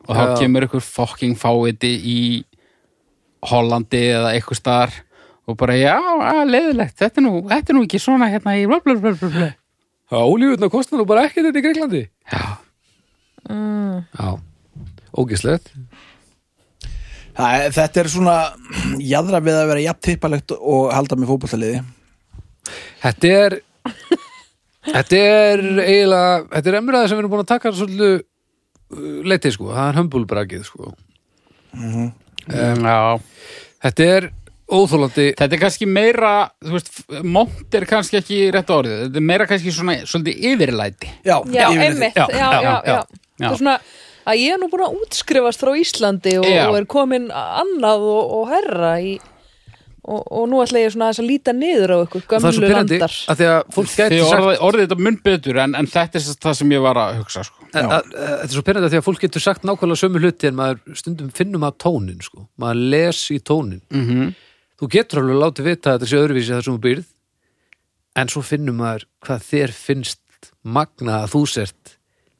Speaker 2: og þá
Speaker 1: Já.
Speaker 2: kemur einhver fokking fáiði í Hollandi eða eitthvað staðar og bara, já, að, leiðilegt þetta er, nú, þetta er nú ekki svona hérna í blablabla
Speaker 1: Já, ólífutna kostar nú bara ekkert þetta í Greiklandi. Já. Já, ógislegt.
Speaker 3: Æ, þetta er svona *clears throat* jadra við að vera jafn tippalegt og halda með fótballtaliði
Speaker 1: Þetta er, þetta er eiginlega, þetta er emræða sem við erum búin að taka svolítið uh, leiti, sko. Það er hömbulbragið, sko.
Speaker 2: Já,
Speaker 1: Þetta er óþólandi,
Speaker 2: þetta er kannski meira þú veist, mont er kannski ekki rétt orðið, þetta er meira kannski svona svolítið yfirlæti
Speaker 3: já,
Speaker 4: já
Speaker 3: yfirleitt.
Speaker 4: einmitt Já, já, já,
Speaker 1: já.
Speaker 4: Það er svona að ég er nú búin að útskrifast frá Íslandi og,
Speaker 2: Já.
Speaker 4: og er komin annað og, og herra í, og, og nú ætla ég svona aðeins að líta niður á ykkur
Speaker 1: það er svo
Speaker 4: gömlu
Speaker 1: pyrrandi
Speaker 4: landar
Speaker 1: að því að fólk
Speaker 2: Þið
Speaker 1: gæti sagt,
Speaker 2: orðið, orðið þetta mun betur en, en þetta er sem sagt það sem ég var að hugsa sko.
Speaker 1: að- að- að- þetta er svo pyrrandi að því að fólk getur sagt nákvæmlega sömu hluti en maður stundum finnum að tónin, sko. Maður les í tónin.
Speaker 2: mm -hmm.
Speaker 1: þú getur alveg látið vita að þetta sé öðruvísi þar sem þú býrð en svo finnum maður hvað þér finnst magna að þú sért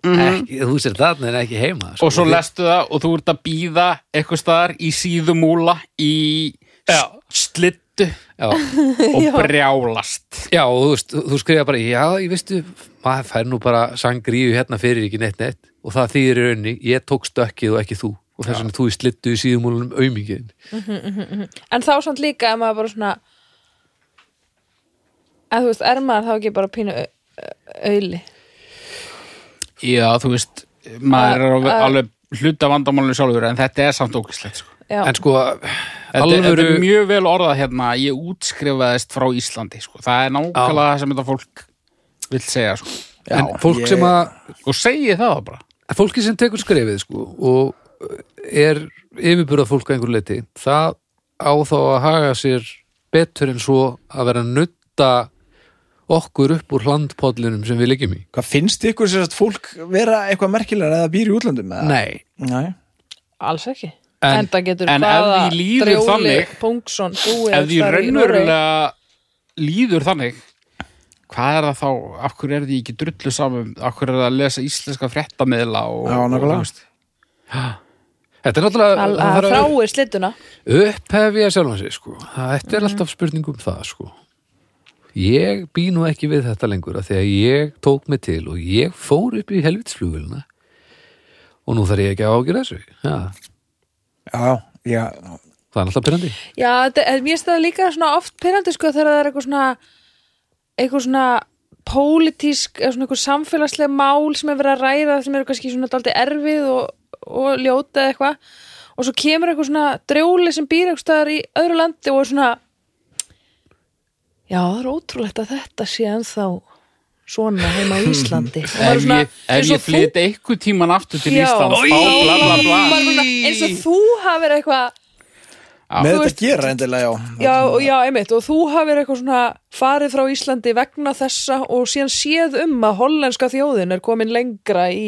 Speaker 1: ekki, þú sért þarna en ekki heima sko.
Speaker 2: Mhm. og svo lestu það og þú ert að býða eitthvað staðar í síðumúla í
Speaker 1: Já.
Speaker 2: slittu
Speaker 1: *laughs* já,
Speaker 2: og brjálast
Speaker 1: já, og þú, veist, þú- þú skrifa bara já, ég veistu, maður fær nú bara sangríu hérna fyrir ekki neitt neitt og það þýðir í rauninni, ég tók stökkið og ekki þú og þess vegna þú í slittu í síðumúlunum aumingiðin
Speaker 4: En þá samt líka ef maður bara svona að þú veist, er maður þá ekki bara pínu au- au- auðli
Speaker 2: já þú veist maður er alveg,
Speaker 4: Að- að-
Speaker 2: alveg hluta vandamálinu sjálfur en þetta er samt ógislegt sko.
Speaker 4: Já,
Speaker 1: en sko,
Speaker 2: þetta, er- þetta er
Speaker 1: alvöru
Speaker 2: mjög vel orðað hérna ég útskrifaðist frá Íslandi sko. það er nákvæmlega það sem þetta fólk vil segja sko.
Speaker 1: en
Speaker 3: Já,
Speaker 1: fólk
Speaker 3: ég-
Speaker 1: sem að
Speaker 2: og segi það bara
Speaker 1: En fólki sem tekur skrefið sko og er yfirbúrað fólk að einhver leiti, það á þá að haga sér betur en svo að vera að nutta okkur upp úr hlandpollinum sem við liggjum í.
Speaker 3: Hvað finnst ykkur sem sagt fólk vera eitthvað merkilega eða býr í útlöndum? eða?
Speaker 1: Nei,
Speaker 3: Nei.
Speaker 4: alls ekki
Speaker 1: En-
Speaker 4: en, Enda getur
Speaker 2: sko- en
Speaker 4: hvaða
Speaker 2: ef því líður
Speaker 4: drjóli,
Speaker 2: þannig-
Speaker 4: Pungsson, búið
Speaker 2: ef því
Speaker 4: staðar í Noregi.
Speaker 2: raunverulega líður þannig hvað er það þá, af hverju er því ekki drullu saman, af hverju er það að lesa íslenska fréttamiðla og,
Speaker 3: Já,
Speaker 2: og
Speaker 3: nákvæmlega.
Speaker 2: þú veist.
Speaker 1: þetta er náttúrulega það
Speaker 4: Al- að
Speaker 1: þarf að
Speaker 4: fráir slituna
Speaker 1: upphefja sjálfan sig sko. Þetta er alltaf spurning um það sko. Ég bý nú ekki við þetta lengur af því að ég tók mig til og ég fór upp í helvitsflugulina og nú þarf ég ekki að ágjöra þessu. Ja,
Speaker 3: Já, já,
Speaker 1: það er alltaf pyrrandi.
Speaker 4: Já, þetta- en mér stæði líka svona oft pyrrandi sko þegar það er eitthvað svona eitthvað svona pólitísk eða svona eitthvað samfélagslega mál sem er verið að ræða sem eru kannski svona daldi erfið og, og ljóta eða eitthvað og svo kemur eitthvað svona drjóli sem býr eitthvað staðar í öðru landi og er svona Já, það er ótrúlegt að þetta sé ennþá svona heima
Speaker 2: *laughs*
Speaker 4: á Íslandi Og maður er
Speaker 2: ef
Speaker 4: svona-
Speaker 2: ég, ef
Speaker 4: eins og
Speaker 2: ég flyt einhver tíman aftur til Íslands þá bla bla bla
Speaker 4: Maður er svona, eins og þú hafir eitthvað
Speaker 3: með
Speaker 4: Þú
Speaker 3: þetta
Speaker 4: veist-
Speaker 3: veist, gera endilega, já.
Speaker 4: Já, og já, einmitt, og þú hafir eitthvað svona farið frá Íslandi vegna þessa og síðan séð um að hollenska þjóðin er komin lengra í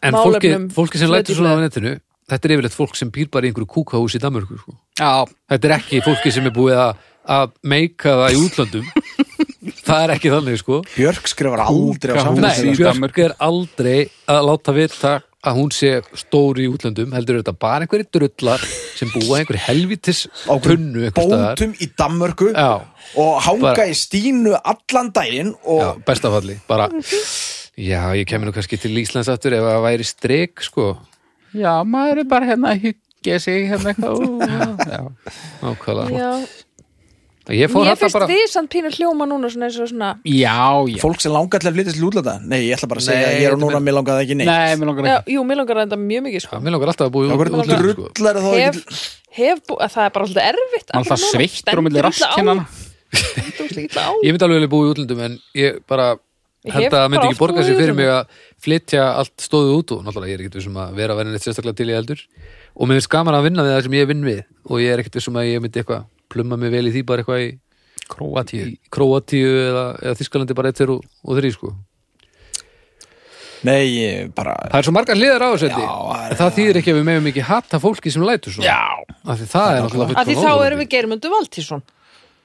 Speaker 1: En fólki,
Speaker 4: málefnum
Speaker 1: fólki sem lætur svona á
Speaker 4: flötuflögu.
Speaker 1: netinu þetta er yfirleitt fólk sem býr bara í einhverju kúkahús í Danmörku sko.
Speaker 2: já,
Speaker 1: Þetta er ekki fólki sem er búið að- að meika það í útlöndum Það er ekki þannig sko
Speaker 3: Björk skrifar aldrei á
Speaker 2: Kúkahús
Speaker 1: Nei,
Speaker 2: í
Speaker 3: samfélagsfélag.
Speaker 1: Björk
Speaker 2: Danmörku.
Speaker 1: er aldrei að láta vita að hún sé stór í útlöndum heldur er þetta bara einhverju drullar sem búa í einhverju helvitis
Speaker 3: Á
Speaker 1: tunnu einhvers staðar.
Speaker 3: Bóndum í Danmörku
Speaker 1: Já,
Speaker 3: og hanga
Speaker 1: Bara-
Speaker 3: í stínu allan daginn
Speaker 1: já,
Speaker 3: og
Speaker 1: bestafalli bara, já, ég kemur nú kannski til Íslands aftur ef það væri streik sko,
Speaker 2: já, maður er bara hérna að hyggja sig hérna eitthvað já.
Speaker 1: nákvæmlega
Speaker 4: Já,
Speaker 1: Ég fór
Speaker 4: mér
Speaker 1: þetta
Speaker 4: finnst
Speaker 1: bara
Speaker 4: við samt pínu hljóma núna svona eins og svona
Speaker 2: já, já
Speaker 3: fólk sem langar til að flytja til útlanda. Nei, ég ætla bara að segja
Speaker 2: Nei,
Speaker 3: að ég er á
Speaker 2: þetta
Speaker 3: núna,
Speaker 2: er-
Speaker 3: mér langar það ekki neitt.
Speaker 2: nei, mér langar
Speaker 4: já,
Speaker 2: ekki
Speaker 4: Jú, mér langar að enda mjög mikið
Speaker 1: Já,
Speaker 4: sko
Speaker 1: mér langar alltaf að búa í
Speaker 3: Þá
Speaker 1: út-
Speaker 3: hvernig
Speaker 1: útlöndum sko.
Speaker 3: drullar þá
Speaker 4: Hef,
Speaker 3: ekki
Speaker 4: hef bú, að það er bara alltaf erfitt
Speaker 2: maður alltaf
Speaker 4: núna.
Speaker 2: sveittur á milli hérna.
Speaker 4: Stendur illa
Speaker 2: raskinnana
Speaker 4: stendur ógeðslega illa á.
Speaker 1: Ég myndi alveg vilja búa í útlöndum en ég bara
Speaker 4: Ég
Speaker 1: held
Speaker 4: hef
Speaker 1: að það myndi
Speaker 4: bara
Speaker 1: ekki
Speaker 4: oft
Speaker 1: borga
Speaker 4: búið
Speaker 1: sig
Speaker 4: í
Speaker 1: fyrir mig
Speaker 4: útlöndum.
Speaker 1: að flytja allt stóðu út og náttúrulega ég er ekkit vissum að vera að vera neitt sérstaklega til í heldur og mér finnst gaman að vinna við það sem ég vinn við og ég er ekkit vissum að ég myndi eitthvað plumma mig vel í því bara eitthvað í,
Speaker 2: Króatíu
Speaker 1: í Króatíu eða, eða Þískalandi bara eittir og, og þrý sko
Speaker 3: Nei, ég bara...
Speaker 1: Það er svo margar hliðar á þessu Eddi.
Speaker 3: það er-
Speaker 1: En það þýðir ekki að við meðum ekki hatta fólki sem lætur svona
Speaker 2: já,
Speaker 1: af því það er náttúrulega
Speaker 4: Af því
Speaker 1: fullkomlega
Speaker 4: þá
Speaker 1: óþolandi.
Speaker 4: erum við Geirmundur Valtísson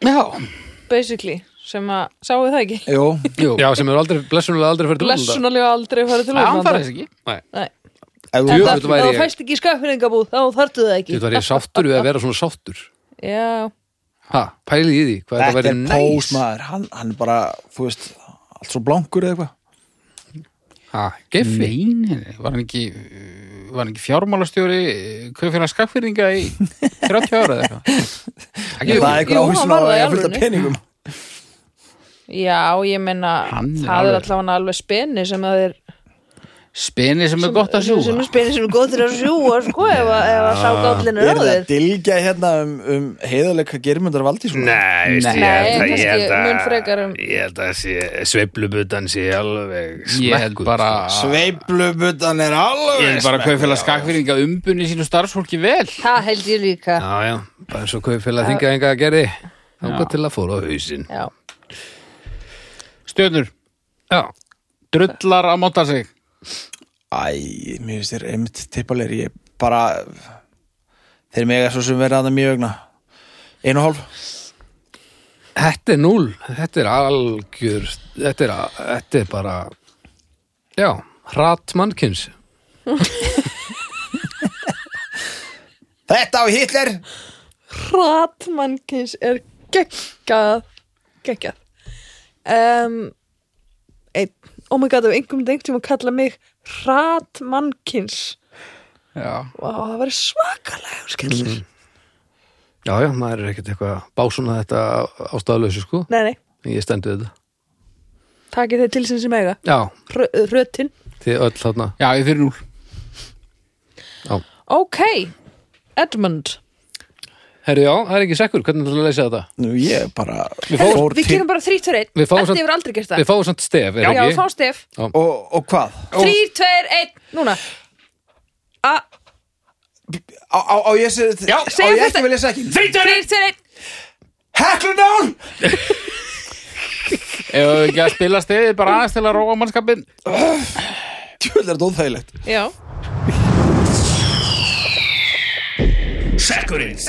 Speaker 2: já,
Speaker 4: basically, sem að, sáu þið það ekki
Speaker 3: Jú,
Speaker 2: jú
Speaker 1: Já, sem er aldrei, blessunulega aldrei fyrir til útlanda
Speaker 4: blessunarlega aldrei farið til
Speaker 2: Já, hann
Speaker 4: útlanda
Speaker 2: farið þess ekki
Speaker 1: Nei.
Speaker 4: Nei.
Speaker 3: ef þú...
Speaker 1: Jú,
Speaker 4: Þetta,
Speaker 1: þetta væri ég.
Speaker 4: ef þú fæst ekki í skapfinningabúð þá þartu það ekki
Speaker 1: Þetta var ég sáttur við að vera svona sáttur
Speaker 4: Já,
Speaker 1: Ha, pælið í því, hvað þetta
Speaker 3: Þetta
Speaker 1: væri
Speaker 3: er
Speaker 1: næs
Speaker 3: pós maður, hann, hann er bara, þú veist, allt svo blankur eða eitthvað.
Speaker 1: Ha, geffi
Speaker 2: Nei, nei, nei, var hann ekki uh, var hann ekki fjármálastjóri kaupfélag skakfyrringa í
Speaker 4: Mm.
Speaker 2: 30 ára eða eitthvað
Speaker 3: Það er eitthvað
Speaker 4: Jú, hann
Speaker 3: áhersin á
Speaker 4: var
Speaker 3: að
Speaker 4: það í
Speaker 3: eiga fullt af
Speaker 4: alvörunni.
Speaker 3: peningum.
Speaker 4: Já, ég meina,
Speaker 2: Hann er
Speaker 4: það er
Speaker 2: alveg-
Speaker 4: allavega alveg spenni sem það er
Speaker 2: speni sem er gott að
Speaker 4: sem
Speaker 2: sjúga
Speaker 4: er spenni sem er gott til að sjúa sko, ef að, ef að sá gállin
Speaker 3: Er
Speaker 4: er á
Speaker 3: það að
Speaker 4: þér
Speaker 3: dilgja hérna um, um heiðarleika germundar valdís?
Speaker 5: Nei, veist, ég
Speaker 4: Nei,
Speaker 5: held að- ég
Speaker 4: kannski
Speaker 5: held að-
Speaker 4: mun frekar um-
Speaker 5: Ég held að sé- sveiflubutan sé alveg
Speaker 2: ég
Speaker 1: sko.
Speaker 2: held
Speaker 5: smekkuð,
Speaker 2: bara
Speaker 3: Sveiflubutan er
Speaker 2: ég
Speaker 3: alveg
Speaker 2: held bara að kaupfélag skakfyrringa umbunni sínu starfsfólki vel
Speaker 4: Það held ég líka
Speaker 1: Já, já, bara eins og kaupfélag þingar enga að gerði Þangað til að fóra á hausinn
Speaker 4: Já,
Speaker 2: stjörnur,
Speaker 1: Já,
Speaker 2: drullar að móta sig
Speaker 3: Æ, mér finnst þér einmitt tippalegir Ég bara Þeir mega svo sem verða að það mjög ögna Einu og hálf
Speaker 1: þetta er núl Þetta er algjör Þetta er, að- þetta er bara Já, hrat mannkins
Speaker 3: Þetta á Hitler
Speaker 4: Hratmannkins er geggjað geggjað um, einn, oh my god, ef einhverjum dengtum að kalla mig Hratmannkins
Speaker 2: Já.
Speaker 4: Vá, það var svakalega skellur
Speaker 2: Mm.
Speaker 1: Já, já, maður er ekkert eitthvað að básuna þetta ástæðalösu, sko
Speaker 4: Nei, nei,
Speaker 1: Ég stendi við þetta
Speaker 4: takið þeir til sem sem eiga
Speaker 1: Já,
Speaker 4: Rö, Rötin
Speaker 1: þið öll þarna
Speaker 2: Já, ég fyrir núl.
Speaker 4: Ok, Edmund
Speaker 1: Herri, já, það er ekki sekkur, hvernig ætlaðu að leysa þetta?
Speaker 3: Nú ég bara Við,
Speaker 4: Herðu, Við gerum bara 3, 2, 1
Speaker 1: Við fáum
Speaker 4: Þetta
Speaker 1: samt-
Speaker 4: hefur aldrei gert
Speaker 1: Við
Speaker 4: það
Speaker 1: fáum samt stef, er
Speaker 4: Já,
Speaker 1: það
Speaker 4: við
Speaker 1: ekki?
Speaker 4: fáum stef
Speaker 3: og, og hvað?
Speaker 1: Ó.
Speaker 4: 3, 2, 1, núna A,
Speaker 3: Á, á, á ég sé Já, á
Speaker 4: segjum
Speaker 3: ég
Speaker 4: þetta.
Speaker 3: ekki vil lesa ekki
Speaker 4: 3, 2, 1
Speaker 3: Heklunál
Speaker 2: Ef við ekki að spila stiðið bara aðeins til að róa mannskapin.
Speaker 3: Tjóðlega er þetta óþægilegt
Speaker 4: Já,
Speaker 5: Sekkurinn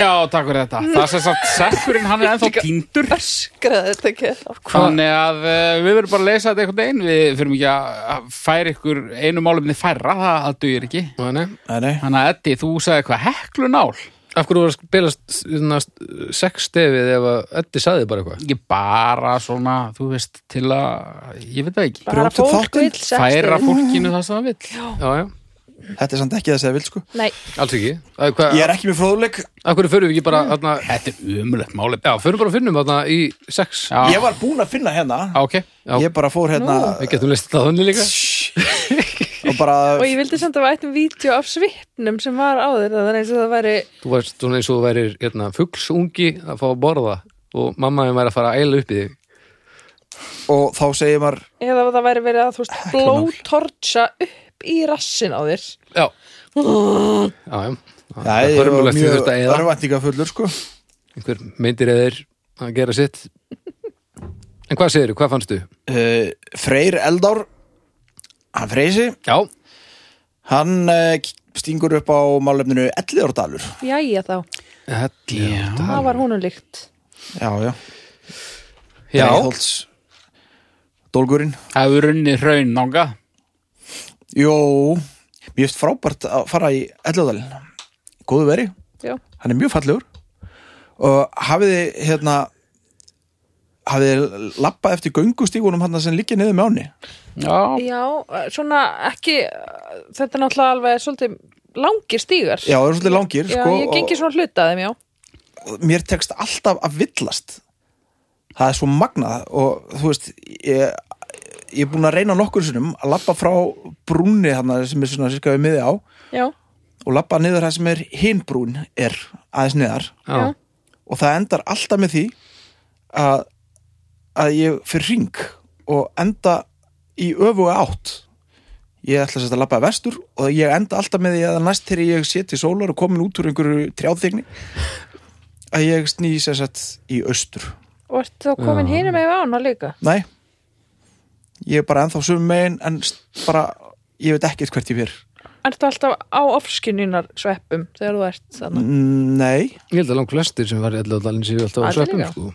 Speaker 2: Já, takk fyrir þetta. Það sem sagt, sekkurinn hann er ennþá týndur.
Speaker 4: skraði þetta ekki þá.
Speaker 2: Þannig að eh, við verðum bara að leysa þetta einhvern veginn. Við fyrir ekki að færa ykkur einu málumni færra, það, það dugir ekki.
Speaker 1: Nei, nei.
Speaker 3: Nei, nei
Speaker 2: Þannig að Eddi, þú sagði hvað heklunál?
Speaker 1: Af hverju var að spila svona, sex stefið ef að Eddi saði bara eitthvað?
Speaker 2: Ekki bara svona, þú veist, til að, ég veit það ekki.
Speaker 4: Bara
Speaker 3: Brjótum
Speaker 4: fólk
Speaker 3: þáttinn.
Speaker 4: vil
Speaker 2: Færa
Speaker 4: sextið
Speaker 2: fólkinu það sem það vill.
Speaker 1: Já, já,
Speaker 3: Þetta er samt ekki það sem ég vil sko
Speaker 4: Nei,
Speaker 1: alls ekki Af hva-
Speaker 3: Ég er ekki með fróðuleik
Speaker 1: Af hverju förum við ekki bara, þarna
Speaker 2: *laughs* Þetta er umulegt málið.
Speaker 1: Já, förum bara að finnum þarna í sex
Speaker 2: Já.
Speaker 3: Ég var búinn að finna hérna
Speaker 2: Já, ok.
Speaker 1: Já.
Speaker 3: Ég bara fór hérna
Speaker 1: Við getum leist það þannig líka
Speaker 3: og bara
Speaker 4: og ég vildi samt að við ættum vídeo af svipnum sem var áður það var eins og það væri
Speaker 1: Þú varst svona eins og þú værir hérna, fuglsungi að fá að borða og mamma þín væri að fara að eila upp í þig
Speaker 3: og þá segir maður
Speaker 4: eða það væri verið að þú veist blótortsa upp í rassin á þér
Speaker 1: Já Já, já
Speaker 3: Já, ég
Speaker 1: er
Speaker 3: var
Speaker 1: hörmulegt því
Speaker 3: mjög
Speaker 1: þurft að eða
Speaker 3: örvæntingafullur sko
Speaker 1: Einhver meindir eða þeir að gera sitt En hvað segirðu, hvað fannstu?
Speaker 3: uh, Freyr Eldár hann Freysi
Speaker 1: Já,
Speaker 3: hann uh, stingur upp á málefninu Elliðordalur
Speaker 4: jæja þá,
Speaker 1: Helljóta
Speaker 4: það var húnum líkt
Speaker 3: já, já,
Speaker 1: Já,
Speaker 3: Breiðholts Dólgurinn
Speaker 2: Það hefur runnið hraun nága.
Speaker 3: Jó, mér finnst frábært að fara í Elliðordalinn góðu veri,
Speaker 4: Já.
Speaker 3: hann er mjög fallegur og hafið þið hérna hafið þið lappað eftir göngustígunum hann sem liggja niður með áni
Speaker 2: Já,
Speaker 4: já, eh, svona ekki eh, þetta er náttúrulega alveg svolítið langir stígar
Speaker 3: já, það er svolítið langir
Speaker 4: Já,
Speaker 3: sko,
Speaker 4: ég gengi
Speaker 3: og-
Speaker 4: svona hluta af þeim, já
Speaker 3: mér tekst alltaf að villast það er svo magnað og þú veist ég, ég er búin að reyna nokkur sinnum að lappa frá brúnni þarna sem er svona sérka við miði á og
Speaker 4: Já,
Speaker 3: lappa niður það sem er hinbrún er aðeins niðar
Speaker 1: já,
Speaker 3: og það endar alltaf með því að, að ég fyrir ring og enda í öfuga átt ég ætla að setja að lappa vestur og ég enda alltaf með því að næst þegar ég sé til sólar og komin út úr einhverju trjáþegni að ég sný sér sett í austur
Speaker 4: og ert þá komin hinum með ána líka
Speaker 3: nei ég er bara ennþá sömu megin en s- bara ég veit ekkert hvert ég fyrir
Speaker 4: Ert þú alltaf á ofskinunar sveppum þegar þú ert
Speaker 3: Mm.
Speaker 4: þannig
Speaker 3: nei,
Speaker 1: ég held að langt flestir sem var í Helljóta séu alltaf á
Speaker 4: Allir
Speaker 1: sveppum
Speaker 4: já.
Speaker 1: sko.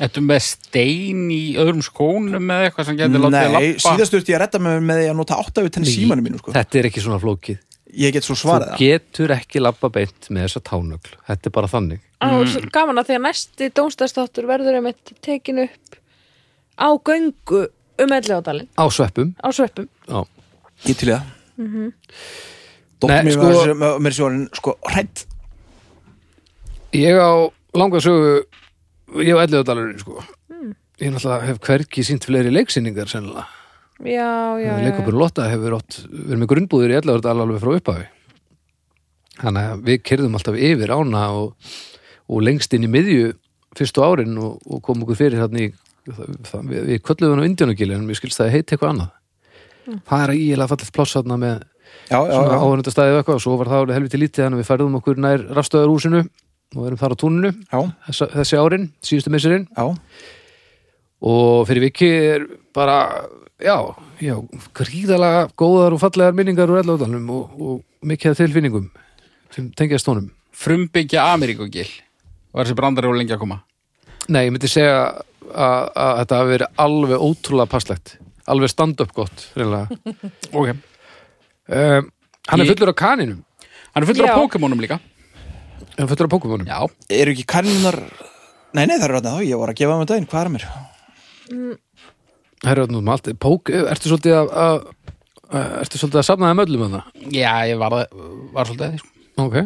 Speaker 2: Þetta með stein í öðrum skónum eða eitthvað sem getur látið
Speaker 3: nei
Speaker 2: að lappa
Speaker 3: síðast þurfti ég að redda með, með því að nota áttavit henni símanum mínu sko.
Speaker 1: Þetta er ekki svona flókið
Speaker 3: ég get svo
Speaker 1: Þú
Speaker 3: svarað það
Speaker 1: getur ekki labba beint með þessa tánögl Þetta er bara þannig
Speaker 4: mm. gaman að því að næsti dónstastáttur verður um eitt tekin upp á göngu um elliðadalinn
Speaker 1: Á sveppum
Speaker 4: á sveppum
Speaker 1: Já,
Speaker 3: Ég til í það mm -hmm. Dóttir
Speaker 1: Nei,
Speaker 3: mér
Speaker 1: sko-
Speaker 3: sko, var mér svo orðin sko hrætt
Speaker 1: Ég á langa sögu ég á elliðadalurinn sko ég náttúrulega hef hvergi sínt fleiri leiksýningar sennilega.
Speaker 4: já, já, já, já.
Speaker 1: Leikopurinn Lotta hefur átt, verið með grunnbúður í elliðadal alveg frá upphafi Þannig að við kerðum alltaf yfir ána og, og lengst inn í miðju fyrstu árin og, og kom okkur fyrir þannig það, við, við köllum hann á Indianugil en mér skilst það heiti eitthvað annað
Speaker 4: Mm.
Speaker 1: Það er að ígjala fallið pláss þarna með
Speaker 3: Já, já,
Speaker 1: svona
Speaker 3: já,
Speaker 1: áhörnda staðið eitthvað og svo var það alveg helviti lítið þannig að við færðum okkur nær rafstöðarhúsinu og erum þar á túninu
Speaker 3: já,
Speaker 1: þessa, þessi árin, síðustu missurinn
Speaker 3: já.
Speaker 1: og fyrir viki er bara já, já, gríðalega góðar og fallegar minningar úr elláðanum og, og mikið af tilfinningum sem tengjast honum
Speaker 2: Frumbyggja Ameríkugil Var þessi brandari og lengi að koma
Speaker 1: Nei, ég myndi segja að, að þetta hafi verið alveg ótrúlega passlegt alveg stand-up gott
Speaker 2: *laughs*
Speaker 1: reynilega.
Speaker 2: Ok
Speaker 1: um, Hann er
Speaker 2: Eh, Ég-
Speaker 1: fullur af kaninum
Speaker 2: Hann er fullur
Speaker 4: Já.
Speaker 2: af Pokémonum líka
Speaker 1: Hann er fullur af Pokémonum
Speaker 2: Já
Speaker 3: Eru ekki kannunar Nei, nei, það eru þarna þá, ég var að gefa um daginn, hvað er að mér?
Speaker 1: Herra, nú, allt, pók, ertu svolítið að, að, að ertu svolítið að safna þeim öllum að það
Speaker 2: Já, ég var, var svolítið sko.
Speaker 1: Ok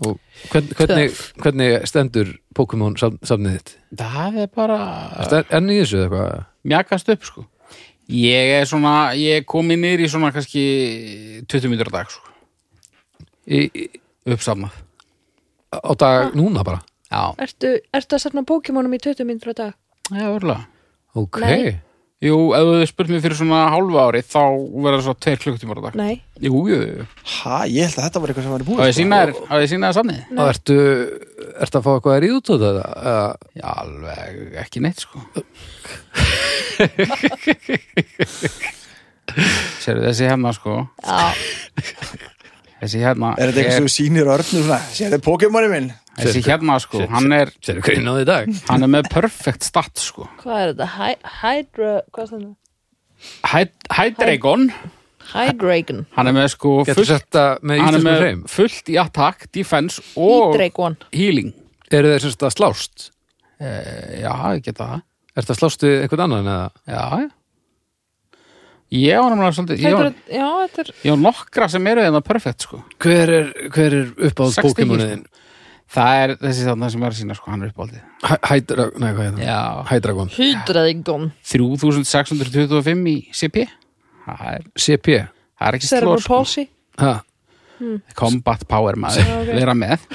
Speaker 1: Og hvern, hvernig, hvernig stendur Pokémon safn- safnið þitt?
Speaker 2: Það er bara
Speaker 1: Ertu enn- enn í þessu eða eitthvað?
Speaker 2: mjakast upp sko Ég er svona, ég er komið niður í svona kannski 20 mínútur á dag sko
Speaker 1: Í, í,
Speaker 2: Uppsafnað
Speaker 1: á
Speaker 2: Ah.
Speaker 1: dag núna bara?
Speaker 2: Já,
Speaker 4: Ertu, ertu að safna Pokémonum í 20 mínútur á dag?
Speaker 2: já, verulega
Speaker 1: Ok Ah,
Speaker 4: Nei.
Speaker 2: Jú, ef þú spurt mér fyrir svona hálfa ári þá verður það svo tveir klukkutímar á dag
Speaker 4: Nei,
Speaker 2: Jú, jú, jú
Speaker 3: Ha, ég held að þetta var eitthvað sem var í
Speaker 2: Á
Speaker 3: búið sko.
Speaker 2: ég sína þér, á ég sína þér safnið?
Speaker 1: Og ertu, ertu að fá eitthvað að ríða út á þetta? Eða-
Speaker 2: Já, alveg ekki neitt sko Sérðu þessi hérna sko
Speaker 4: já,
Speaker 2: Þessi hérna
Speaker 3: Er þetta eitthvað sem þú sýnir örnur svona? Sér þið Pokémoni minn?
Speaker 2: Þessi hérna sko, hann er,
Speaker 1: Sérðu hvað ég náði í
Speaker 2: *laughs*
Speaker 1: dag?
Speaker 2: hann er með perfect stat sko
Speaker 4: hvað er þetta? Hy Hydra, hvað stendur?
Speaker 2: Hydreigon,
Speaker 4: Hydragon
Speaker 2: hann er með sko
Speaker 1: Getur
Speaker 2: fullt,
Speaker 1: setta með
Speaker 2: hann er
Speaker 1: íslenskum
Speaker 2: með
Speaker 1: hreim
Speaker 2: fullt í attack, defense og
Speaker 4: Hydragon
Speaker 2: healing
Speaker 1: Eru þeir semst að slást?
Speaker 2: Já, ég geta það
Speaker 1: Ertu að slást við einhvern annan eða?
Speaker 2: Já, já Ég var náttúrulega svolítið, ég
Speaker 4: Þetta
Speaker 2: var,
Speaker 4: er, já, þetta er
Speaker 2: ég var nokkra sem eru þeirna perfect sko
Speaker 1: Hver er, hver er uppáð
Speaker 2: Sex stykki,
Speaker 1: Pokémonið þinn?
Speaker 2: Það er þessi þarna sem er að sína sko, hann er uppáldið
Speaker 1: Hæ- Hydra, nei hvað er það?
Speaker 2: Já,
Speaker 1: Hydragon
Speaker 4: Hydragon
Speaker 2: 3625 í CP Það er,
Speaker 1: CP
Speaker 2: það er ekki slór
Speaker 4: Cerebral
Speaker 2: sko.
Speaker 4: Palsy
Speaker 1: ha,
Speaker 2: Combat power maður, vera með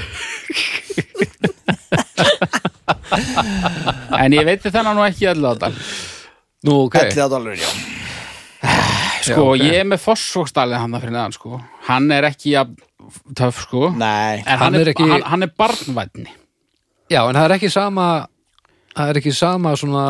Speaker 2: En ég veit þennan nú ekki allir á þetta
Speaker 1: Nú ok
Speaker 3: Ætli að dálurinn, já
Speaker 1: Já,
Speaker 2: Sko,
Speaker 1: ok.
Speaker 2: ég er með Fossvogsdalið hann að fyrir neðan sko Hann er ekki jafn töff sko
Speaker 3: Nei,
Speaker 2: En
Speaker 1: Hann
Speaker 2: hann,
Speaker 1: er
Speaker 2: er,
Speaker 1: ekki-
Speaker 2: hann, hann er barnvætni
Speaker 1: Já en það er ekki sama það er ekki sama svona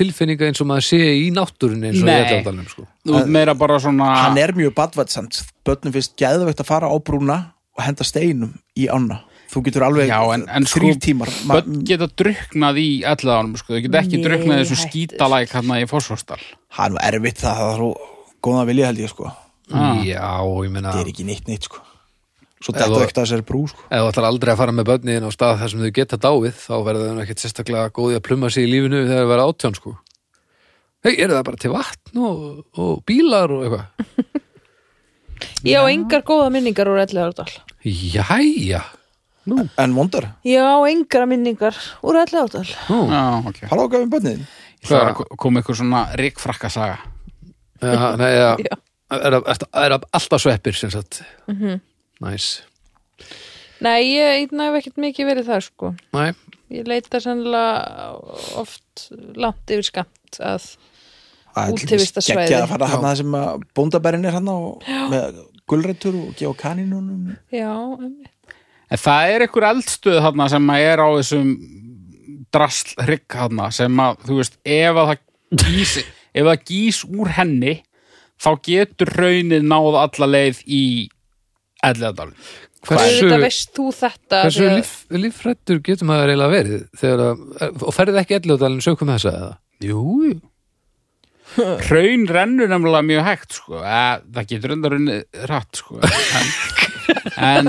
Speaker 1: tilfinninga eins og maður sé í náttúrunni eins og
Speaker 2: Nei.
Speaker 1: ég ætla að tala um sko
Speaker 2: Þú ert meira bara svona
Speaker 3: hann er mjög badvætsamt Bötnum finnst geðveikt að fara á brúna og henda steinum í ána Þú getur alveg
Speaker 2: Já, en, en sko,
Speaker 3: þrýr tímar ma-
Speaker 2: börn geta druknað í elleðanum, sko, þau geta ekki
Speaker 4: Nei,
Speaker 2: druknað í þessu
Speaker 4: hættu.
Speaker 2: skítalæk hérna í Fossvogsdal.
Speaker 3: Það er nú erfitt það, það er svo góðan vilja held ég sko
Speaker 1: Já ég meina
Speaker 3: Það er
Speaker 1: eða
Speaker 3: ekki neitt neitt sko Svo
Speaker 1: Ef
Speaker 3: þetta
Speaker 1: þú-
Speaker 3: ekkert að þessari brú sko
Speaker 1: þú ætlar aldrei að fara með börnin á stað þar sem þau geta dáið þá verður þau nú ekkert sérstaklega góði að pluma sig í lífinu þegar þau verða átján sko Hei, eru það bara til vatn og, og bílar og eitthvað?
Speaker 4: Ég á engar góða minningar úr Elliðardal
Speaker 1: Jæja,
Speaker 3: En vondar,
Speaker 4: Ég á engar minningar úr Elliðardal
Speaker 1: nú,
Speaker 2: Já, ok.
Speaker 3: hala okkar við bönnið
Speaker 2: Ég ætla að koma ykkur svona rikfrakka saga.
Speaker 1: ja, nei, ja, er, er, er alltaf sveppir sem sagt Næs,
Speaker 4: Nei, ég, ég hef ekkert mikið verið þar sko
Speaker 1: næ,
Speaker 4: Ég leita sennilega oft langt yfir skamt að Útivistarsvæði.
Speaker 3: Gekkið að fara hann að sem að bóndabærin er hann og með gulrættur og gefa kanínunum
Speaker 4: já, einmitt.
Speaker 2: En það er ykkur eldstöð þarna sem að er á þessum drasl hrygg þarna sem að, þú veist, ef að það gís, ef það gís úr henni, þá getur raunin náð alla leið í elleðanum.
Speaker 1: Hversu-
Speaker 4: Auðvitað veist þú þetta
Speaker 1: Hversu
Speaker 4: því að-
Speaker 1: líf, lífrættur getur maður eiginlega verið þegar að, og ferðið ekki elljóðalinn sökum þessa eða?
Speaker 2: Jú, jú. *laughs* Hraun rennur nefnilega mjög hægt sko. Eh, Það getur enda runnið rætt sko. en, en,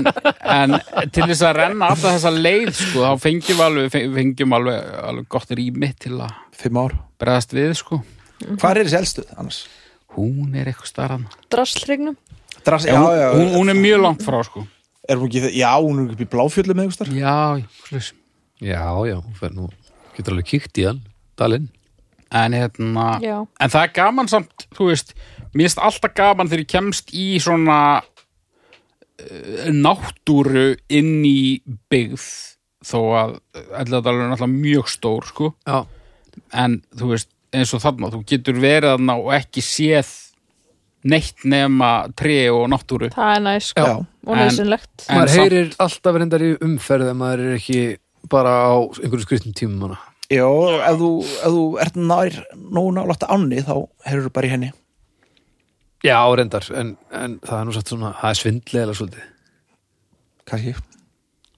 Speaker 2: en til þess að renna alltaf þessa leið sko, þá fengjum við alveg, fe- fengjum alveg, alveg gott rými til að
Speaker 3: Fimm ár
Speaker 2: bregðast við sko.
Speaker 3: Hvar er þessi elstuð annars?
Speaker 2: Hún er eitthvað starran
Speaker 4: draslhringnum
Speaker 3: Dras, já, já,
Speaker 2: hún, hún er mjög langt frá sko.
Speaker 3: er hún ekki, í- já, hún er ekki í bláfjöllum eða einhverstaðar.
Speaker 2: Já, slús
Speaker 1: Já, já, hún fer nú, getur alveg kíkt í hann, dalinn.
Speaker 2: En hérna,
Speaker 4: Já.
Speaker 2: en það er gaman samt, þú veist, mér finnst alltaf gaman þegar ég kemst í svona eh, náttúru inn í byggð þó að Elladalur er náttúrulega mjög stór, sko,
Speaker 1: Já,
Speaker 2: en þú veist, eins og þarna, þú getur verið þarna og ekki séð neitt nema tré og náttúru.
Speaker 4: Það er næs sko
Speaker 3: Já.
Speaker 4: og
Speaker 2: En-
Speaker 4: næsinlegt
Speaker 2: En
Speaker 1: maður
Speaker 2: samt-
Speaker 1: heyrir alltaf reyndar í umferð en maður er ekki bara á einhverjum skriftum tímum hana.
Speaker 3: Jó, ef þú, ef þú ert nær nóg nálægt ánni þá heyrur bara í henni
Speaker 1: Já, reyndar, en, en það er nú satt svona, það er svindlega svolítið.
Speaker 3: kannski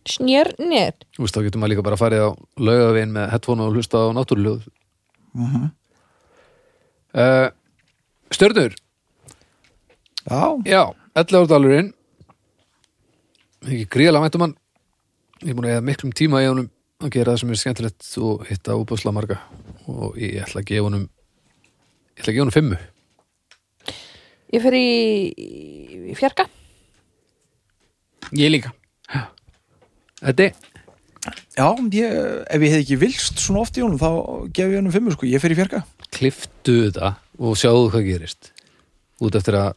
Speaker 4: Snjörnir
Speaker 1: Þú veist, þá getur maður líka bara farið á laugavegin með headphone og hlusta á náttúruljóð. Mm -hmm. Stjörnur,
Speaker 3: Já,
Speaker 1: já, 11 ára dalurinn. Ekki gríðlega mættum hann. Ég er búin að eða miklum tíma í honum að gera það sem er skemmtilegt og hitta úbúsla marga og ég ætla að gefa honum ég ætla að gefa honum fimmu.
Speaker 4: Ég fer í, í fjarka
Speaker 2: Ég líka
Speaker 1: Þetta er
Speaker 3: já ég, ef ég hef ekki vilst svona oft í honum þá gef ég honum fimmu sko, ég fer í fjarka
Speaker 1: kliftu þetta og sjáðu hvað gerist út eftir að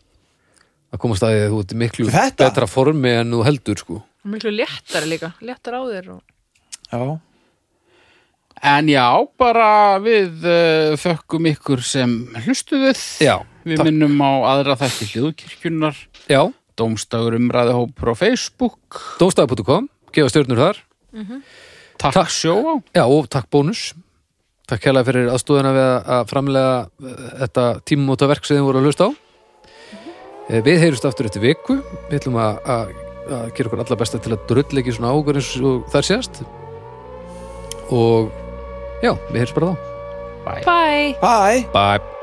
Speaker 1: að koma staðið að þú ert í miklu
Speaker 3: Þetta?
Speaker 1: betra formi en þú heldur sko
Speaker 4: Miklu léttar líka, léttar á þér og...
Speaker 3: Já,
Speaker 2: En já, bara við uh, þökkum ykkur sem hlustuðuð
Speaker 1: Já,
Speaker 2: Við
Speaker 1: takk.
Speaker 2: minnum á aðra þætti hljóðkirkjunnar
Speaker 1: já,
Speaker 2: Dómstagur umræðahópur á Facebook
Speaker 1: domstaf.com gefa stjörnur þar,
Speaker 2: Takk,
Speaker 1: Takk.
Speaker 2: takk. sjóa
Speaker 1: já og takk bónus takk kærlega fyrir aðstóðina við að- að framlega eh, þetta tímumóta verk sem þið voru að hlusta á Eh, við heyrjumst aftur eftir viku við ætlum að, að, að gera okkur alla besta til að drull ekki svona águr eins og þar séðast og já, við heyrjumst bara þá
Speaker 4: Bye
Speaker 3: bye
Speaker 1: Bye